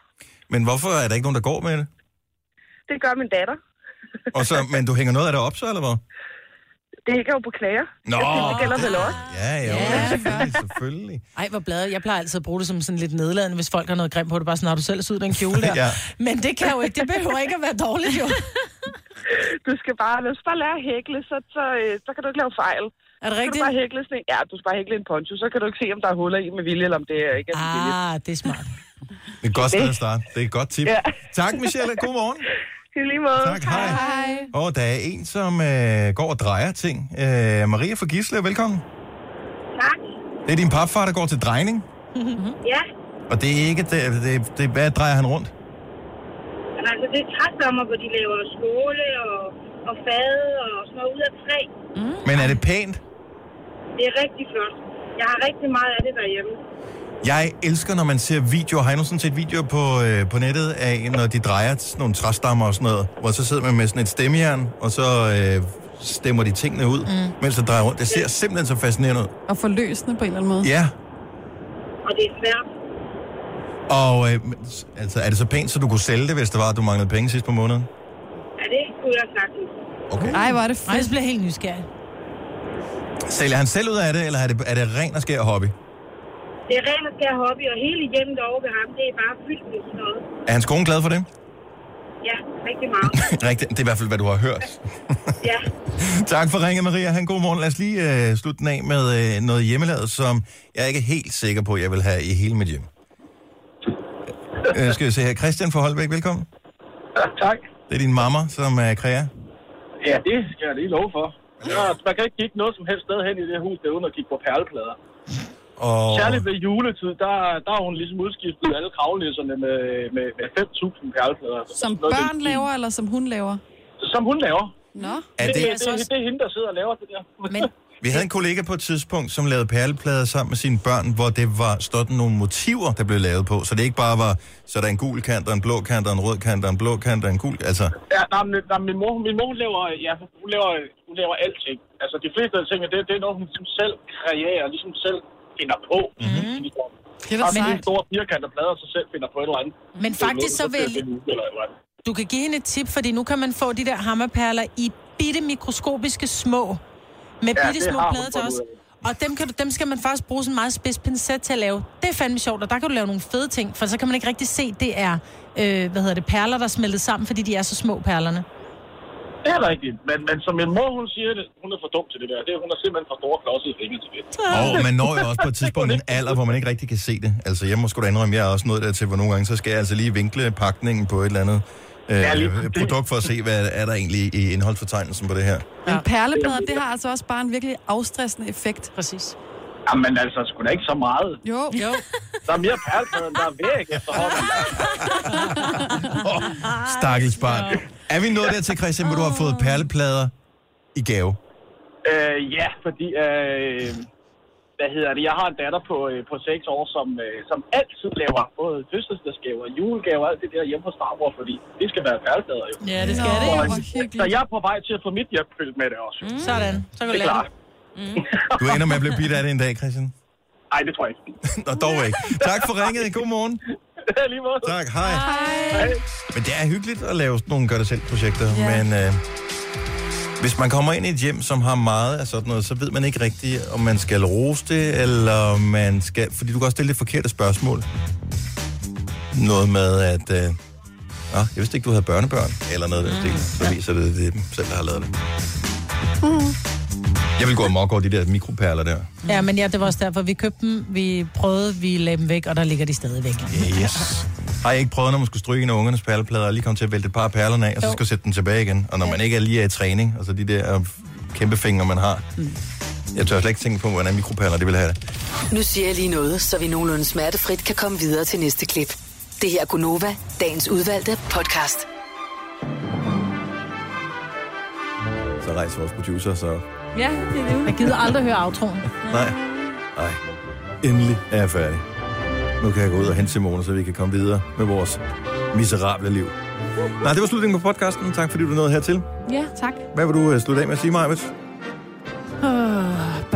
Men hvorfor er der ikke nogen, der går med det?
Det gør min datter.
Og så, men du hænger noget af det op så, eller hvad?
Det hænger jo på klæder.
Nå,
Jeg synes, det gælder vel også.
Ja, ja, ja. selvfølgelig, selvfølgelig.
Ej, hvor bladet. Jeg plejer altid at bruge det som sådan lidt nedladende, hvis folk har noget grimt på det. Bare sådan, har du selv syet den kjole der?
Ja.
Men det kan jo ikke. Det behøver ikke at være dårligt, jo.
Du skal bare, hvis du bare lærer at hækle, så, så, øh, så kan du ikke lave fejl.
Er det
rigtigt? Du bare hækle sådan en, ja, du skal bare hækle en poncho, så kan du ikke se, om der er huller i med vilje, eller om det er ikke er med vilje.
Ah, det er smart.
Det er et godt sted at starte. Det er et godt tip. Ja. Tak, Michelle. God morgen.
I lige måde.
Tak, hej.
hej.
Og der er en, som øh, går og drejer ting. Øh, Maria fra Gislev, velkommen.
Tak.
Det er din papfar, der går til drejning.
Mm-hmm.
ja,
Og det er ikke... Det, det, det, hvad drejer han rundt?
han
altså det er træsommer, hvor de laver skåle og, og fade og sådan noget ud af træ.
Mm-hmm.
Men er det pænt?
Det er rigtig flot. Jeg har rigtig meget af det derhjemme.
Jeg elsker, når man ser videoer. Har I nogensinde set videoer på, øh, på nettet af, når de drejer sådan nogle træstammer og sådan noget, hvor så sidder man med sådan et stemmejern, og så øh, stemmer de tingene ud, mm. mens de drejer rundt. Det ser simpelthen så fascinerende ud.
Og forløsende på en eller anden måde.
Ja,
Og det er svært.
og øh, men s- altså, er det så pænt, så du kunne sælge det, hvis det var, at du manglede penge sidst på måneden?
Ja, det kunne jeg sagtens.
Okay.
Ej, hvor er det fedt.
Ej, så bliver jeg helt nysgerrig.
Sælger han selv ud af det, eller er det, er det ren og skær hobby?
Det er ren og skær hobby, og hele hjemmet over ved ham, det er bare fyldt med sådan noget.
Er hans kone glad for det?
Ja, rigtig meget.
Rigtigt, det er i hvert fald, hvad du har hørt.
Ja.
tak for ringet, Maria. Han, god morgen. Lad os lige øh, slutte den af med øh, noget hjemmelavet, som jeg ikke er helt sikker på, jeg vil have i hele mit hjem. Øh, skal vi se her. Christian fra Holbæk, velkommen.
Tak.
Det er din mamma, som er kræer.
Ja, det skal jeg lige love for. Ja, man kan ikke kigge noget som helst sted hen i det her hus, der uden at kigge på perleplader.
Og...
Særligt ved juletid, der, der har hun ligesom udskiftet alle kravlæsserne med, med, med 5.000 perleplader.
Som børn laver, eller som hun laver?
Som hun laver.
Nå.
Er
det, Altså
det-
det, det, det, det, er hende, der sidder og laver det der. Men...
Vi havde en kollega på et tidspunkt, som lavede perleplader sammen med sine børn, hvor det var sådan nogle motiver, der blev lavet på. Så det ikke bare var, så der er en gul kant, og en blå kant, og en rød kant, og en blå kant, og en gul... Altså,
Ja, nej, men, nej, min mor, min mor hun laver, ja, hun laver, hun laver alting. Altså, de fleste af tingene, det, det er noget, hun ligesom selv kreerer, ligesom selv finder på. Mm-hmm.
Det er da
og sådan en
sejt.
stor firkantede plader, så selv finder på et eller andet.
Men faktisk så vil jeg lige-
jeg...
Du kan give hende et tip, fordi nu kan man få de der hammerperler i bitte mikroskopiske små, med
Ja,
ja, bitte
det
små
har hun
plader til
fundet
os.
ud
Og dem, kan du, dem skal man faktisk bruge sådan en meget spids pincet til at lave. Det er fandme sjovt, og der kan du lave nogle fede ting, for så kan man ikke rigtig se, det er, øh, hvad hedder det, perler, der er smeltet sammen, fordi de er så små, perlerne.
Det er rigtigt, men, men som min mor, hun siger det, hun er for dum til det der. Det, hun er simpelthen for store klodser i fingeren til det.
Og oh, man når jo også på et tidspunkt en alder, hvor man ikke rigtig kan se det. Altså, jeg må sgu da indrømme, jeg er også nået dertil, hvor nogle gange, så skal jeg altså lige vinkle pakningen på et eller andet øh,
Ja, lige
ja, produkt for at se, hvad er der egentlig i indholdsfortegnelsen på det her.
Men perleplader, det har altså også bare en virkelig afstressende effekt.
Præcis.
Jamen altså, sgu da ikke så meget.
Jo. jo.
Der er mere perlefød, end der er væk efterhånden.
Stakkels barn. Er vi nået dertil, Christian, hvor du har fået perleplader i gave?
øh, ja, fordi... Øh, hvad hedder det? Jeg har en datter på, øh, på 6 år, som, øh, som altid laver både fødselsdagsgaver, julegaver og alt det der hjemme hos farmor, fordi det skal være perleplader jo.
Ja, det skal Nå, det jo. hvor
Så, så jeg er på vej til at få mit hjem fyldt med det også. Mm.
Sådan. Så kan du
det er
lave
klart.
Du ender med at blive bidt af det en dag, Christian.
Nej, det tror jeg ikke.
Nå, dog ikke. Tak for ringet. God morgen.
Lige måde.
Tak, hej. Men det er hyggeligt at lave sådan nogle gør-det-selv-projekter,
Ja.
ja. men øh, hvis man kommer ind i et hjem, som har meget af sådan noget, så ved man ikke rigtigt, om man skal rose det, eller om man skal... Fordi du kan også stille det forkerte spørgsmål. Noget med, at... Øh, Nå, jeg vidste ikke, du havde børnebørn, eller noget af den stil. Så viser det, det er dem selv, der har lavet det.
Mm-hmm.
Jeg vil gå amok over de der mikroperler der.
Ja, men ja, det var også derfor, vi købte dem, vi prøvede, vi lagde dem væk, og der ligger de stadigvæk.
Yes. Har jeg ikke prøvet, når man skulle stryge en af ungernes perleplader, og lige komme til at vælte et par af perlerne af, og så
Jo.
skulle sætte den tilbage igen? Og når man ikke er lige er i træning, altså de der øh, kæmpe fingre, man har.
Mm.
Jeg tør slet ikke tænke på, hvordan mikroperler det vil have det.
Nu siger jeg lige noget, så vi nogenlunde smertefrit kan komme videre til næste klip. Det her er Gunova, dagens udvalgte podcast.
Så rejser vores producer, så
Ja, det er det. Jeg gider aldrig høre aftroen.
nej. Nej. Endelig er jeg færdig. Nu kan jeg gå ud og hente Simone, så vi kan komme videre med vores miserable liv. Nej, det var slutningen på podcasten. Tak fordi du nåede hertil.
Ja, tak.
Hvad vil du øh, slutte af med at sige, Majvits?
Oh,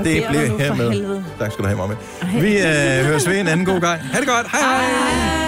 Det blev hermed. Tak skal du have, Maja. Vi øh, høres ved en anden god gang. Ha' det godt. Hej hej. hej.